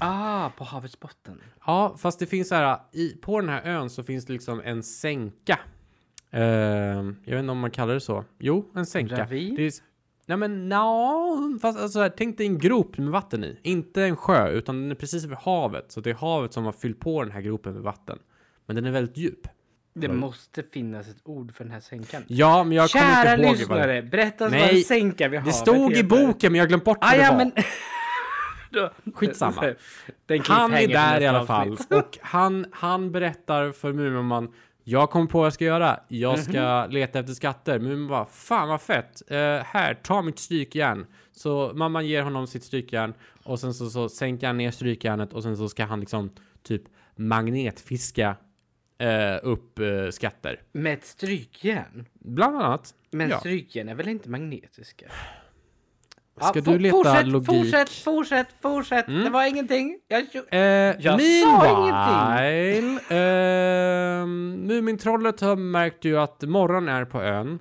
Speaker 2: Ah, på havets botten.
Speaker 1: Ja, fast det finns så här, i, på den här ön så finns det liksom en sänka. Eh, jag vet inte om man kallar det så. Jo, en sänka.
Speaker 2: Ravin?
Speaker 1: Det är, s- nej men no, fast alltså, här, tänk dig en grop med vatten i. Inte en sjö, utan den är precis över havet. Så det är havet som har fyllt på den här gropen med vatten. Men den är väldigt djup.
Speaker 2: Det måste finnas ett ord för den här sänkan.
Speaker 1: Ja, men jag kommer inte
Speaker 2: Kära
Speaker 1: ihåg vad det
Speaker 2: lyssnare, berätta oss
Speaker 1: Nej,
Speaker 2: vad en sänka vi har.
Speaker 1: Det stod i boken, men jag har glömt bort vad
Speaker 2: Ah,
Speaker 1: det
Speaker 2: ja,
Speaker 1: var.
Speaker 2: men... (laughs) Då-
Speaker 1: Skitsamma.
Speaker 2: (laughs) Den
Speaker 1: Han är
Speaker 2: cliffhanger för
Speaker 1: där
Speaker 2: nästa
Speaker 1: i alla fall (laughs)
Speaker 2: avsnitt.
Speaker 1: och han, han berättar för Muminman jag kommer på vad jag ska göra. Jag ska
Speaker 2: Mhm.
Speaker 1: leta efter skatter. Mumin bara, fan vad fett. Eh, här, ta mitt strykjärn. Så mamman ger honom sitt strykjärn och sen så, så sänker han ner strykjärnet och sen så ska han liksom typ magnetfiska eh, upp eh, skatter.
Speaker 2: Med ett strykjärn.
Speaker 1: Bland annat.
Speaker 2: Men
Speaker 1: ja.
Speaker 2: strykjärn är väl inte magnetiska?
Speaker 1: Ska
Speaker 2: Ja,
Speaker 1: du
Speaker 2: for-
Speaker 1: leta
Speaker 2: fortsätt,
Speaker 1: logik? Mm.
Speaker 2: Fortsätt, fortsätt, fortsätt. Det var ingenting. Jag...
Speaker 1: Eh,
Speaker 2: sa
Speaker 1: meanwhile, eh, Mumintrollet har märkt ju att morgon är på ön.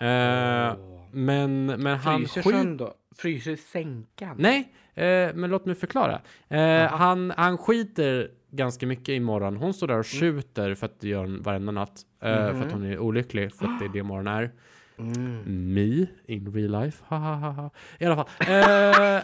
Speaker 1: Eh, Men, men han
Speaker 2: Fryser
Speaker 1: skiter...
Speaker 2: sjön då? Fryser sänkan?
Speaker 1: Nej, eh, men låt mig förklara. Eh, han, han skiter ganska mycket i morgon. Hon står där
Speaker 2: Mm.
Speaker 1: och skjuter för att det gör hon varenda natt. Eh, För att hon är olycklig, för att det är det morgon är.
Speaker 2: Mm. (laughs)
Speaker 1: Me in real life. Ha, ha, ha, ha. I alla fall. Eh,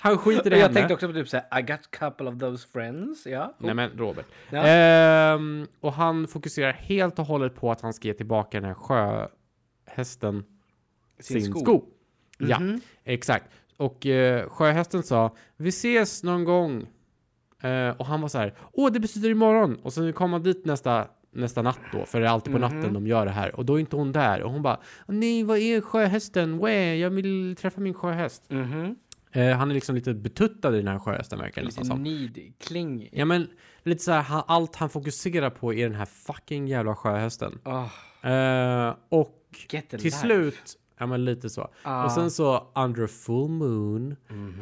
Speaker 1: Han skiter i
Speaker 2: Och jag
Speaker 1: henne.
Speaker 2: tänkte också på typ såhär, I got couple of those friends. Ja.
Speaker 1: Nej men Robert.
Speaker 2: Oh. Ja.
Speaker 1: Ehm, och han fokuserar helt och hållet på att han ska ge tillbaka den här sjöhästen
Speaker 2: Sin
Speaker 1: sin
Speaker 2: sko. Mhm.
Speaker 1: sko. Ja, exakt. Och eh, sjöhästen sa vi ses någon gång. Eh, och han var så här, åh det betyder imorgon. Och sen kom han dit nästa, nästa natt då, för det är alltid på
Speaker 2: Mhm.
Speaker 1: natten de gör det här. Och då är inte hon där. Och hon bara, nej vad är sjöhästen? Wä, jag vill träffa min sjöhäst.
Speaker 2: Mhm.
Speaker 1: Eh, han är liksom lite betuttad i den här sjöhästen verkar det nästan
Speaker 2: Lite
Speaker 1: som.
Speaker 2: needy, kling.
Speaker 1: Ja men lite så här, han, allt han fokuserar på är den här fucking jävla sjöhästen.
Speaker 2: Ah,
Speaker 1: Eh, och
Speaker 2: get a
Speaker 1: till
Speaker 2: life.
Speaker 1: slut, ja men lite så.
Speaker 2: Ah.
Speaker 1: Och sen så under a full moon,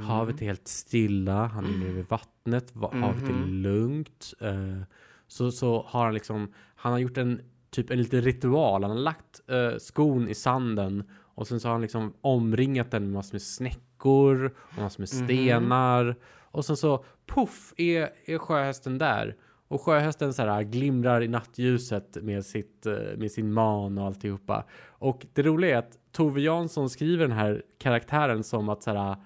Speaker 1: havet är helt stilla, han är nere vid vattnet, va- havet är lugnt. Eh, så, så har han liksom, han har gjort en typ en liten ritual, han har lagt eh, skon i sanden och sen så har han liksom omringat den med massor med snäckor och massor med stenar. Och sen så puff är, är sjöhästen där. Och sjöhästen så här glimrar i nattljuset med, sitt, eh, med sin man och alltihopa. Och det roliga är att Tove Jansson skriver den här karaktären som att så här,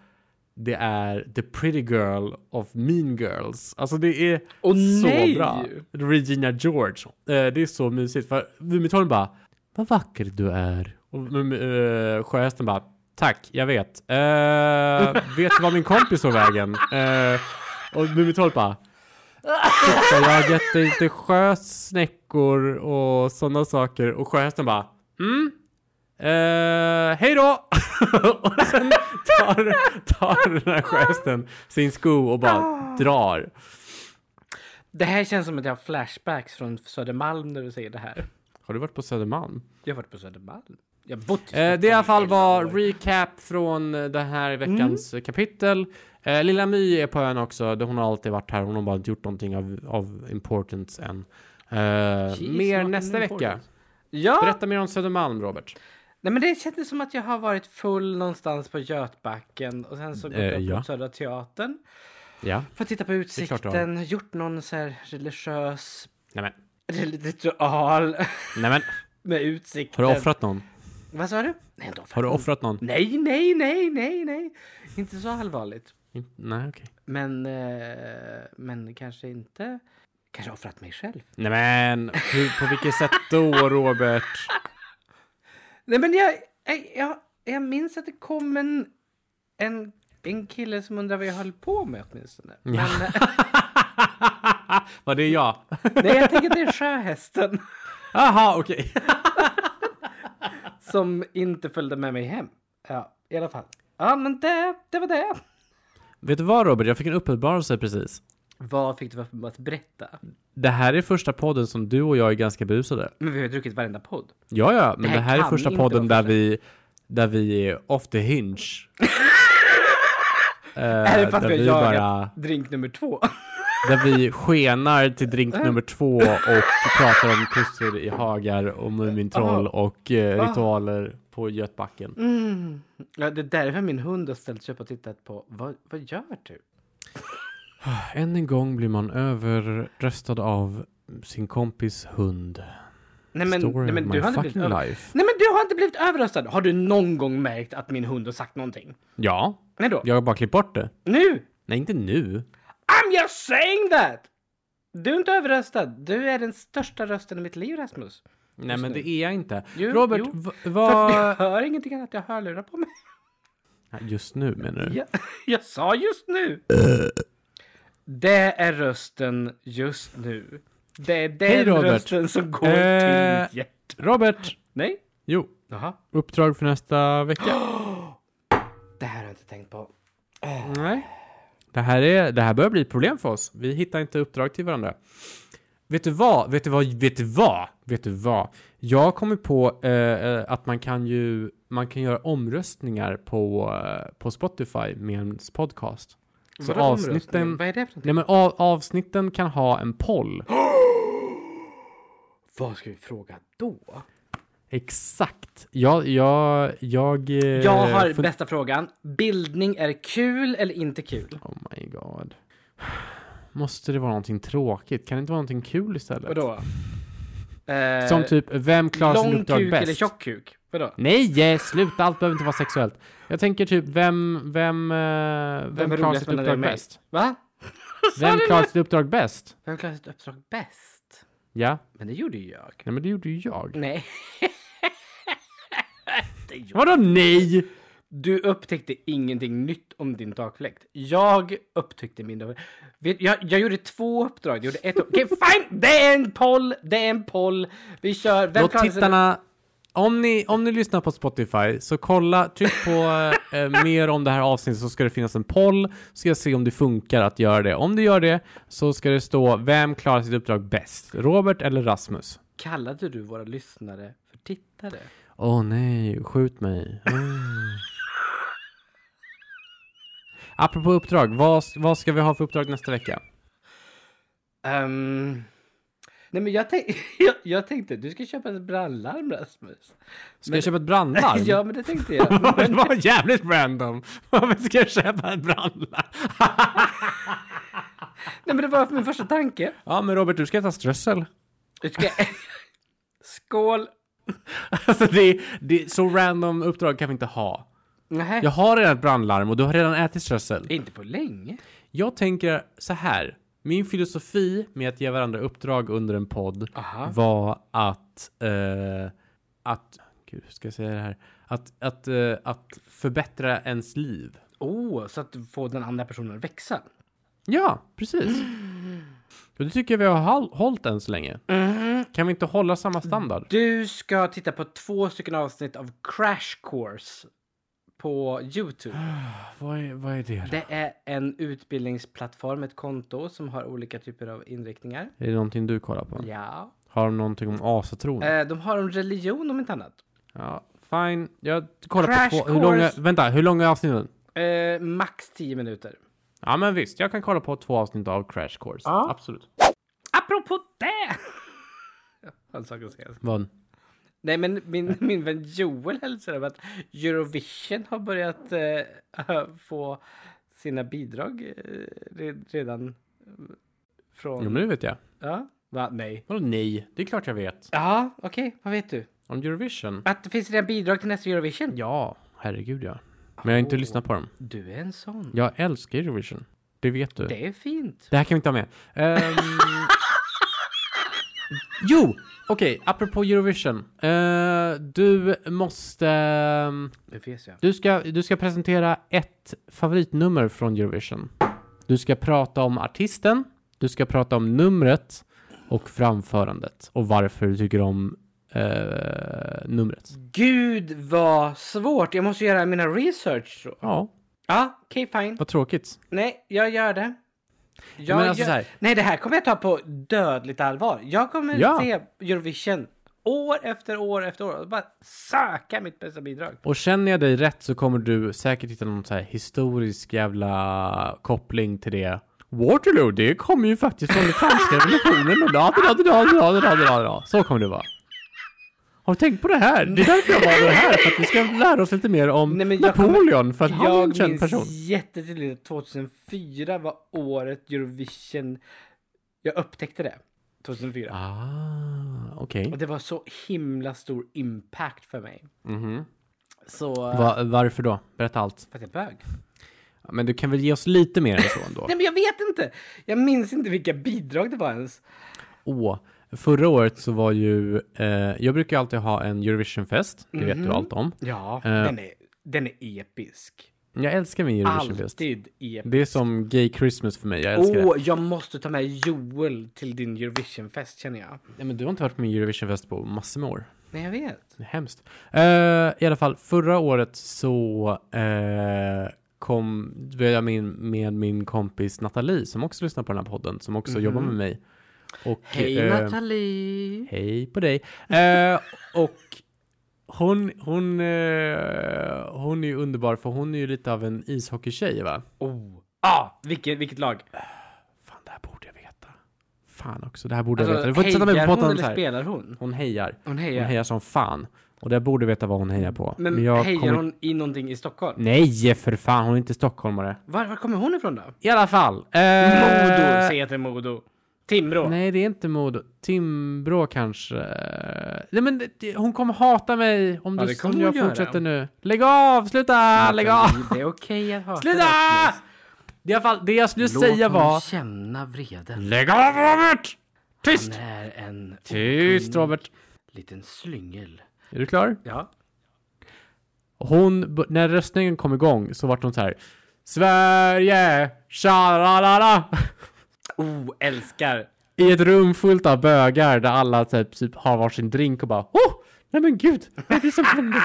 Speaker 1: det är the pretty girl of mean girls. Alltså det är
Speaker 2: Åh,
Speaker 1: så
Speaker 2: nej!
Speaker 1: bra. Regina George. Eh, det är så mysigt för Mumintrollen bara Vad vacker du är. Och uh, sjöhästen bara Tack, jag vet. Eh, vet du var min kompis tog vägen? Eh, och Mumintrollet bara Titta, jag har gett dig lite sjösnäckor och sådana saker. Och sjöhästen bara Mm, Eh, hej då! (laughs) och sen tar, tar den här sjösten sin sko och bara drar.
Speaker 2: Det här känns som att jag har flashbacks från Södermalm när du säger det här.
Speaker 1: Har du varit på Södermalm?
Speaker 2: Jag har varit på Södermalm. Jag har bott i
Speaker 1: Eh, det i alla fall
Speaker 2: Stockholm
Speaker 1: var
Speaker 2: elva år.
Speaker 1: recap från eh, det här veckans eh, kapitel. Eh, Lilla My är på ön också. Det- Hon har alltid varit här. Hon har bara inte gjort någonting av, av importance än. Eh,
Speaker 2: She's
Speaker 1: mer
Speaker 2: not
Speaker 1: nästa
Speaker 2: an
Speaker 1: vecka.
Speaker 2: important. Ja!
Speaker 1: Berätta mer om Södermalm, Robert.
Speaker 2: Nej men det kändes som att jag har varit full någonstans på Götbacken och sen så gått
Speaker 1: Eh,
Speaker 2: upp
Speaker 1: ja.
Speaker 2: mot Södra Teatern.
Speaker 1: Ja.
Speaker 2: För att titta på
Speaker 1: är klart du har.
Speaker 2: utsikten, gjort någon så här religiös
Speaker 1: Nämen.
Speaker 2: ritual
Speaker 1: Nämen.
Speaker 2: (laughs) med utsikten.
Speaker 1: Har du offrat någon?
Speaker 2: Vad sa du? Nej, inte offrat.
Speaker 1: Har du offrat någon?
Speaker 2: Nej, nej, nej, nej, nej. Inte så allvarligt.
Speaker 1: In- Nej, okej.
Speaker 2: Men, eh, men kanske inte. Kanske offrat mig själv.
Speaker 1: Nämen. Hur, på vilket sätt då, Robert?
Speaker 2: Nej men jag, jag, jag, jag minns att det kom en, en, en kille som undrade vad jag höll på med åtminstone. Men, eh,
Speaker 1: (laughs) Var det jag?
Speaker 2: nej jag tänker att det är sjöhästen
Speaker 1: Aha, okej.
Speaker 2: som inte följde med mig hem. Ja, i alla fall. Ja men det, det var det.
Speaker 1: Vet du vad, Robert? Jag fick en uppenbarelse precis.
Speaker 2: Vad fick du för att berätta?
Speaker 1: Det här är första podden som du och jag är ganska busade.
Speaker 2: Men vi har ju druckit varenda podd.
Speaker 1: Ja, ja, men det
Speaker 2: här
Speaker 1: här, är
Speaker 2: kan
Speaker 1: första
Speaker 2: inte vara
Speaker 1: podden där vi, där vi är off the hinge. Eh,
Speaker 2: (laughs) är det för att
Speaker 1: där
Speaker 2: vi har
Speaker 1: vi
Speaker 2: jagat
Speaker 1: bara,
Speaker 2: drink nummer två?
Speaker 1: Där vi skenar till drink
Speaker 2: Äh.
Speaker 1: nummer två och pratar om kusser i hagar och Mumintroll och
Speaker 2: Ah.
Speaker 1: eh, ritualer på Götbacken.
Speaker 2: Mm. ja, det är därför min hund har ställt sig upp och tittat på vad, vad gör du?
Speaker 1: Än en gång blir man överröstad av sin kompis hund.
Speaker 2: Nej men,
Speaker 1: Story
Speaker 2: nej, men
Speaker 1: of
Speaker 2: du
Speaker 1: my
Speaker 2: har inte blivit
Speaker 1: fucking
Speaker 2: över...
Speaker 1: life.
Speaker 2: Nej men du har inte blivit överröstad. Har du någon gång märkt att min hund har sagt någonting?
Speaker 1: Ja,
Speaker 2: Nej då.
Speaker 1: jag har bara klippt bort det.
Speaker 2: Nu!
Speaker 1: Nej, inte nu.
Speaker 2: I'm just saying that! Du är inte överröstad. Du är den största rösten i mitt liv, Rasmus.
Speaker 1: Nej, men det är jag inte.
Speaker 2: Jo,
Speaker 1: Robert,
Speaker 2: jo.
Speaker 1: v-
Speaker 2: För att
Speaker 1: vad...
Speaker 2: jag hör ingenting annat. Jag hör lurar på mig.
Speaker 1: Nej, Just nu menar du?
Speaker 2: Jag, jag sa just nu. Det är rösten just nu. Det är den
Speaker 1: Hej, Robert.
Speaker 2: rösten som går till
Speaker 1: Eh.
Speaker 2: mitt hjärta.
Speaker 1: Robert!
Speaker 2: Nej?
Speaker 1: Jo,
Speaker 2: Jaha.
Speaker 1: uppdrag för nästa vecka.
Speaker 2: Det här har jag inte tänkt på. Eh,
Speaker 1: Nej. Det här, är, det här börjar bli ett problem för oss. Vi hittar inte uppdrag till varandra. Vet du vad? Vet du vad? Vet du vad? Vet du vad? Jag har kommit på eh, eh, att man kan ju man kan göra omröstningar på, eh, på Spotify med en podcast. Så
Speaker 2: Vadå omröstning?
Speaker 1: avsnitten,
Speaker 2: Vad är det för någonting?
Speaker 1: nej men av, avsnitten kan ha en poll.
Speaker 2: (gasps) Vad ska vi fråga då?
Speaker 1: Exakt. Jag, jag, jag... eh,
Speaker 2: Jag har
Speaker 1: fun-
Speaker 2: bästa frågan. Bildning är kul eller inte kul?
Speaker 1: Oh my god. (sighs) Måste det vara någonting tråkigt? Kan det inte vara någonting kul istället?
Speaker 2: Vadå? Eh,
Speaker 1: Som typ, vem klarar sin
Speaker 2: lång
Speaker 1: uppdrag
Speaker 2: kuk eller
Speaker 1: bäst?
Speaker 2: tjock kuk? Vadå?
Speaker 1: Nej, eh, sluta! Allt behöver inte vara sexuellt. Jag tänker typ, vem, vem, eh, vem,
Speaker 2: är
Speaker 1: klarar
Speaker 2: roligast
Speaker 1: sitt
Speaker 2: mellan dig
Speaker 1: uppdrag
Speaker 2: och mig?
Speaker 1: bäst?
Speaker 2: Va?
Speaker 1: Vem klarar sitt uppdrag bäst?
Speaker 2: Vem klarar sitt uppdrag bäst?
Speaker 1: Ja,
Speaker 2: Men det gjorde ju jag.
Speaker 1: nej men det gjorde ju jag.
Speaker 2: Nej. Det gjorde-
Speaker 1: Vadå nej?
Speaker 2: du upptäckte ingenting nytt om din takfläkt. Jag upptäckte min takfläkt. Vet- Jag, jag gjorde två uppdrag. Jag gjorde ett upp- (laughs) Okej, fine! Det är en poll! Det är en poll! Vi kör. Vem
Speaker 1: Låt
Speaker 2: klarar sig-
Speaker 1: tittarna... Om ni, om ni lyssnar på Spotify, så kolla, tryck på eh, mer om det här avsnittet så ska det finnas en poll. Så ska jag se om det funkar att göra det. Om det gör det så ska det stå vem klarar sitt uppdrag bäst? Robert eller Rasmus?
Speaker 2: Kallade du våra lyssnare för tittare?
Speaker 1: Åh nej, skjut mig. Mm. Apropå uppdrag, vad, vad ska vi ha för uppdrag nästa vecka?
Speaker 2: Ehm, nej men jag, tänk, (laughs) jag, jag tänkte du ska köpa ett brandlarm Rasmus.
Speaker 1: Ska jag köpa ett brandlarm?
Speaker 2: (laughs)
Speaker 1: (laughs)
Speaker 2: ja men det tänkte jag.
Speaker 1: det var jävligt random! (laughs) Varför ska jag köpa ett brandlarm?
Speaker 2: nej men det var min första tanke.
Speaker 1: Ja men Robert, du ska äta strössel.
Speaker 2: Du ska... (laughs) Skål!
Speaker 1: (laughs) Alltså det, det, så random uppdrag kan vi inte ha.
Speaker 2: Nej,
Speaker 1: Jag har redan ett brandlarm och du har redan ätit strössel.
Speaker 2: inte på länge.
Speaker 1: Jag tänker så här. Min filosofi med att ge varandra uppdrag under en podd
Speaker 2: Aha.
Speaker 1: var att... Eh, att... Gud, hur ska jag säga det här? Att, att, eh, att förbättra ens liv.
Speaker 2: Oh, så att få den andra personen att växa.
Speaker 1: Ja, precis. Och det tycker jag vi har håll, hållit än så länge.
Speaker 2: Mm-hmm.
Speaker 1: Kan vi inte hålla samma standard?
Speaker 2: Du ska titta på två stycken avsnitt av Crash Course på Youtube.
Speaker 1: Mm. Vad är, vad är det? då?
Speaker 2: Det är en utbildningsplattform, ett konto som har olika typer av inriktningar.
Speaker 1: Är det någonting du kollar på?
Speaker 2: Ja.
Speaker 1: Har de någonting om asatron?
Speaker 2: Eh, De har om religion om inte annat.
Speaker 1: Ja, fine. Jag kollar
Speaker 2: Crash
Speaker 1: på två... Hur
Speaker 2: course.
Speaker 1: långa, vänta, hur långa är avsnitten?
Speaker 2: Eh, max 10 minuter.
Speaker 1: Ja, men visst. Jag kan kolla på två avsnitt av Crash Course. Absolut.
Speaker 2: Apropå (laughs) det! Han sa att säga.
Speaker 1: Vad?
Speaker 2: Nej, men
Speaker 1: (laughs)
Speaker 2: min, min vän Joel hälsade om att Eurovision har börjat eh, få sina bidrag eh, re- redan eh,
Speaker 1: Jo,
Speaker 2: från...
Speaker 1: men det vet jag.
Speaker 2: Ja, va? Nej.
Speaker 1: Vadå nej? Det är klart jag vet.
Speaker 2: Ja, okej. Vad vet du?
Speaker 1: Om Eurovision?
Speaker 2: Att det finns redan bidrag till nästa Eurovision?
Speaker 1: Ja, herregud ja. Men jag har inte lyssnat på dem.
Speaker 2: Du är en sån.
Speaker 1: Jag älskar Eurovision. Det vet du.
Speaker 2: Det är fint.
Speaker 1: Det här kan vi inte ha med. Ehm... (laughs) jo! Okej, apropå Eurovision. Eh, du måste...
Speaker 2: Det finns jag.
Speaker 1: Du ska, du ska presentera ett favoritnummer från Eurovision. Du ska prata om artisten, du ska prata om numret och framförandet och varför du tycker om eh, numret.
Speaker 2: Gud vad svårt! Jag måste göra mina research då.
Speaker 1: Ja,
Speaker 2: Ja, okej fine.
Speaker 1: vad tråkigt.
Speaker 2: Nej, jag gör det. Jag
Speaker 1: Men alltså
Speaker 2: gör...
Speaker 1: så här-
Speaker 2: Nej, det här kommer jag ta på dödligt allvar. Jag kommer
Speaker 1: Ja.
Speaker 2: se Eurovision år efter år efter år och bara söka mitt bästa bidrag.
Speaker 1: Och känner jag dig rätt så kommer du säkert hitta någon så här historisk jävla koppling till det. Waterloo, det kommer ju faktiskt från den
Speaker 2: (laughs)
Speaker 1: franska revolutionen och da, da, da, da, da, da, da, da, da. Så kommer det vara. Har du tänkt på det här? Det är därför jag valde det här, för att vi ska lära oss lite mer om
Speaker 2: Nej, men jag kommer-
Speaker 1: Napoleon, för att han är en
Speaker 2: Jag
Speaker 1: känd
Speaker 2: minns
Speaker 1: person.
Speaker 2: jättetydligt att 2004 var året Eurovision... Jag upptäckte det. 2004.
Speaker 1: Ah, okej.
Speaker 2: Och det var så himla stor impact för mig.
Speaker 1: Mhm.
Speaker 2: Så... eh,
Speaker 1: Va, varför då? Berätta allt.
Speaker 2: För att jag är bög.
Speaker 1: Men du kan väl ge oss lite mer än så
Speaker 2: (laughs)
Speaker 1: ändå?
Speaker 2: Nej men jag vet inte! Jag minns inte vilka bidrag det var ens.
Speaker 1: Åh, förra året så var ju... Eh, jag brukar ju alltid ha en Eurovisionfest, det
Speaker 2: Mhm.
Speaker 1: vet du allt om.
Speaker 2: Ja, den, är, den är episk.
Speaker 1: Jag älskar min Eurovisionfest.
Speaker 2: Alltid Oh. episk.
Speaker 1: Det är som gay Christmas för mig, jag älskar
Speaker 2: Åh, jag måste ta med det. Joel till din Eurovisionfest känner jag.
Speaker 1: det. Nej, men du har inte varit på min Eurovisionfest på massor med år.
Speaker 2: Nej, jag vet.
Speaker 1: Det är hemskt. Eh, I alla fall, förra året så eh, kom var jag min, med min kompis Nathalie som också lyssnar på den här podden, som också jobbar med mig. Och,
Speaker 2: Mhm. Hej
Speaker 1: eh,
Speaker 2: Nathalie!
Speaker 1: Hej på dig. Eh, och hon, hon, eh, hon är ju underbar för hon är ju lite av en ishockeytjej va?
Speaker 2: Oh. Ah, vilket, vilket lag?
Speaker 1: Fan, det här borde jag veta. Fan också, det här borde jag
Speaker 2: Alltså,
Speaker 1: veta. Du får inte sätta mig på
Speaker 2: hejar hon
Speaker 1: pottan så
Speaker 2: eller
Speaker 1: här.
Speaker 2: spelar hon?
Speaker 1: Hon hejar.
Speaker 2: Hon
Speaker 1: Hon
Speaker 2: hejar.
Speaker 1: hejar som fan. Och där borde du veta vad hon hejar på.
Speaker 2: Men,
Speaker 1: jag
Speaker 2: hejar
Speaker 1: kommer-
Speaker 2: hon i någonting i Stockholm?
Speaker 1: Nej för fan, hon är inte stockholmare. eh,
Speaker 2: Var, var kommer hon ifrån då?
Speaker 1: I alla fall. Eh...
Speaker 2: Modo, säg att det är Modo. Timrå.
Speaker 1: Nej, det är inte Modo. Timbrå kanske. Nej, men det- det, hon kommer hata mig om,
Speaker 2: Ja,
Speaker 1: du,
Speaker 2: det kommer
Speaker 1: om jag
Speaker 2: hon göra.
Speaker 1: fortsätter nu. Lägg av! Sluta! Lägg av!
Speaker 2: Det är okej att hata
Speaker 1: Sluta!
Speaker 2: Rasmus.
Speaker 1: Det, är i alla fall, det jag skulle
Speaker 2: Låt
Speaker 1: säga
Speaker 2: honom
Speaker 1: var...
Speaker 2: känna vreden.
Speaker 1: Lägg av Robert! Tyst!
Speaker 2: Han är en
Speaker 1: Tyst
Speaker 2: okunnig
Speaker 1: Robert!
Speaker 2: liten slyngel.
Speaker 1: Är du klar?
Speaker 2: Ja.
Speaker 1: Hon, b- när röstningen kom igång så vart hon så här. Sverige! Tja-la-la-la! (laughs)
Speaker 2: Oh, älskar.
Speaker 1: I ett rum fullt av bögar där alla typ, typ har varsin drink och bara Åh! Nej men gud! Vad är det som händer?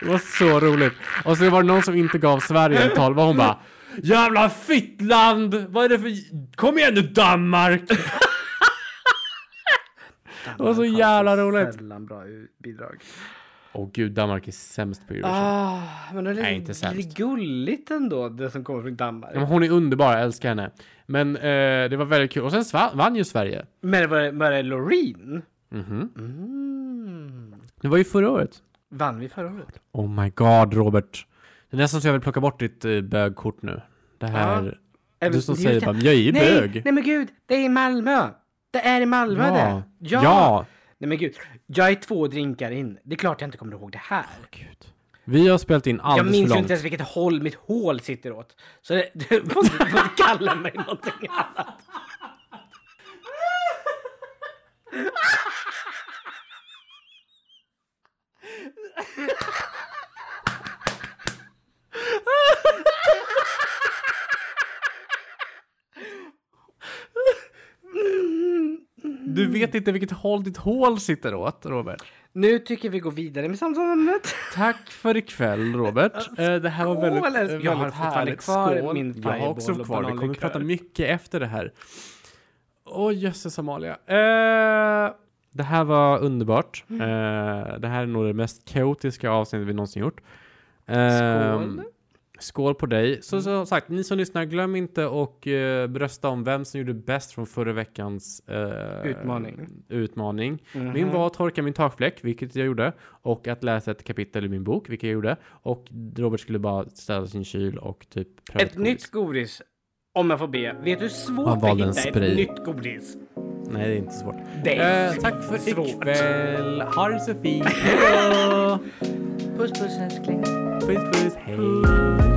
Speaker 1: Det var så roligt. Och så var det någon som inte gav Sverige en tolva. Hon bara Jävla fittland! Vad är det för... Kom igen nu Danmark! (laughs) Det var så
Speaker 2: Danmark har
Speaker 1: jävla
Speaker 2: så
Speaker 1: roligt.
Speaker 2: Sällan bra u- bidrag.
Speaker 1: Åh gud, Danmark är sämst på Eurovision.
Speaker 2: Ah, men det är,
Speaker 1: Nej, inte sämst. Mm.
Speaker 2: lite gulligt ändå, det som kommer från Danmark.
Speaker 1: Ja, men Hon är underbar, jag älskar henne. Men eh, det var väldigt kul. Och sen sva- vann ju Sverige.
Speaker 2: Men var det, var det Loreen?
Speaker 1: Mhm.
Speaker 2: Mm.
Speaker 1: Det var ju förra året.
Speaker 2: Vann vi förra året?
Speaker 1: Oh my god, Robert. Det är nästan så jag vill plocka bort ditt eh, bögkort nu. Det här...
Speaker 2: Äh,
Speaker 1: Du som
Speaker 2: just
Speaker 1: säger
Speaker 2: det.
Speaker 1: bara, jag är ju
Speaker 2: nej,
Speaker 1: bög.
Speaker 2: Nej men gud, det är i Malmö. Det är i Malmö
Speaker 1: ja.
Speaker 2: det.
Speaker 1: Ja.
Speaker 2: Nej men gud, jag är två drinkar in. Det är klart jag inte kommer ihåg det här.
Speaker 1: Gud. Vi har spelat in
Speaker 2: Jag
Speaker 1: alldeles
Speaker 2: minns
Speaker 1: för
Speaker 2: ju
Speaker 1: långt.
Speaker 2: inte ens vilket håll mitt hål sitter åt. Så det, (laughs) du får inte- du får inte kalla mig
Speaker 1: (laughs)
Speaker 2: någonting annat.
Speaker 1: Du vet inte vilket håll ditt hål sitter åt, Robert.
Speaker 2: Nu tycker vi gå vidare med samtalet.
Speaker 1: Tack för ikväll,
Speaker 2: (laughs)
Speaker 1: Robert. Eh, det här var
Speaker 2: Skål,
Speaker 1: väldigt,
Speaker 2: älskling.
Speaker 1: eh, väldigt
Speaker 2: Jag har fortfarande
Speaker 1: härligt.
Speaker 2: kvar min
Speaker 1: Jag har
Speaker 2: Fireball
Speaker 1: också
Speaker 2: och
Speaker 1: kvar. Vi kommer
Speaker 2: bananlikör.
Speaker 1: prata mycket efter det här. Åh, jösses Amalia. Eh, det här var underbart.
Speaker 2: Mm.
Speaker 1: Eh, det här är nog det mest kaotiska avsnittet vi någonsin gjort. Ehm,
Speaker 2: Skål. Mm.
Speaker 1: Skål på dig. Så som sagt, ni som lyssnar, glöm inte och eh, brösta om vem som gjorde bäst från förra veckans eh,
Speaker 2: Utmaning.
Speaker 1: utmaning. Min var att torka min takfläck, vilket jag gjorde, och att läsa ett kapitel i min bok, vilket jag gjorde. Och Robert skulle bara ställa sin kyl och typ pröva
Speaker 2: Ett nytt godis. Om jag får be. Vet du hur
Speaker 1: Han
Speaker 2: svårt det är
Speaker 1: valde
Speaker 2: att
Speaker 1: en
Speaker 2: hitta
Speaker 1: spray.
Speaker 2: ett nytt godis?
Speaker 1: godis. Nej, det är inte svårt.
Speaker 2: Det är
Speaker 1: Eh, tack för
Speaker 2: svårt.
Speaker 1: ikväll. Ha
Speaker 2: (laughs)
Speaker 1: det så fint. Hej då!
Speaker 2: Puss puss älskling.
Speaker 1: Puss, puss. Hej.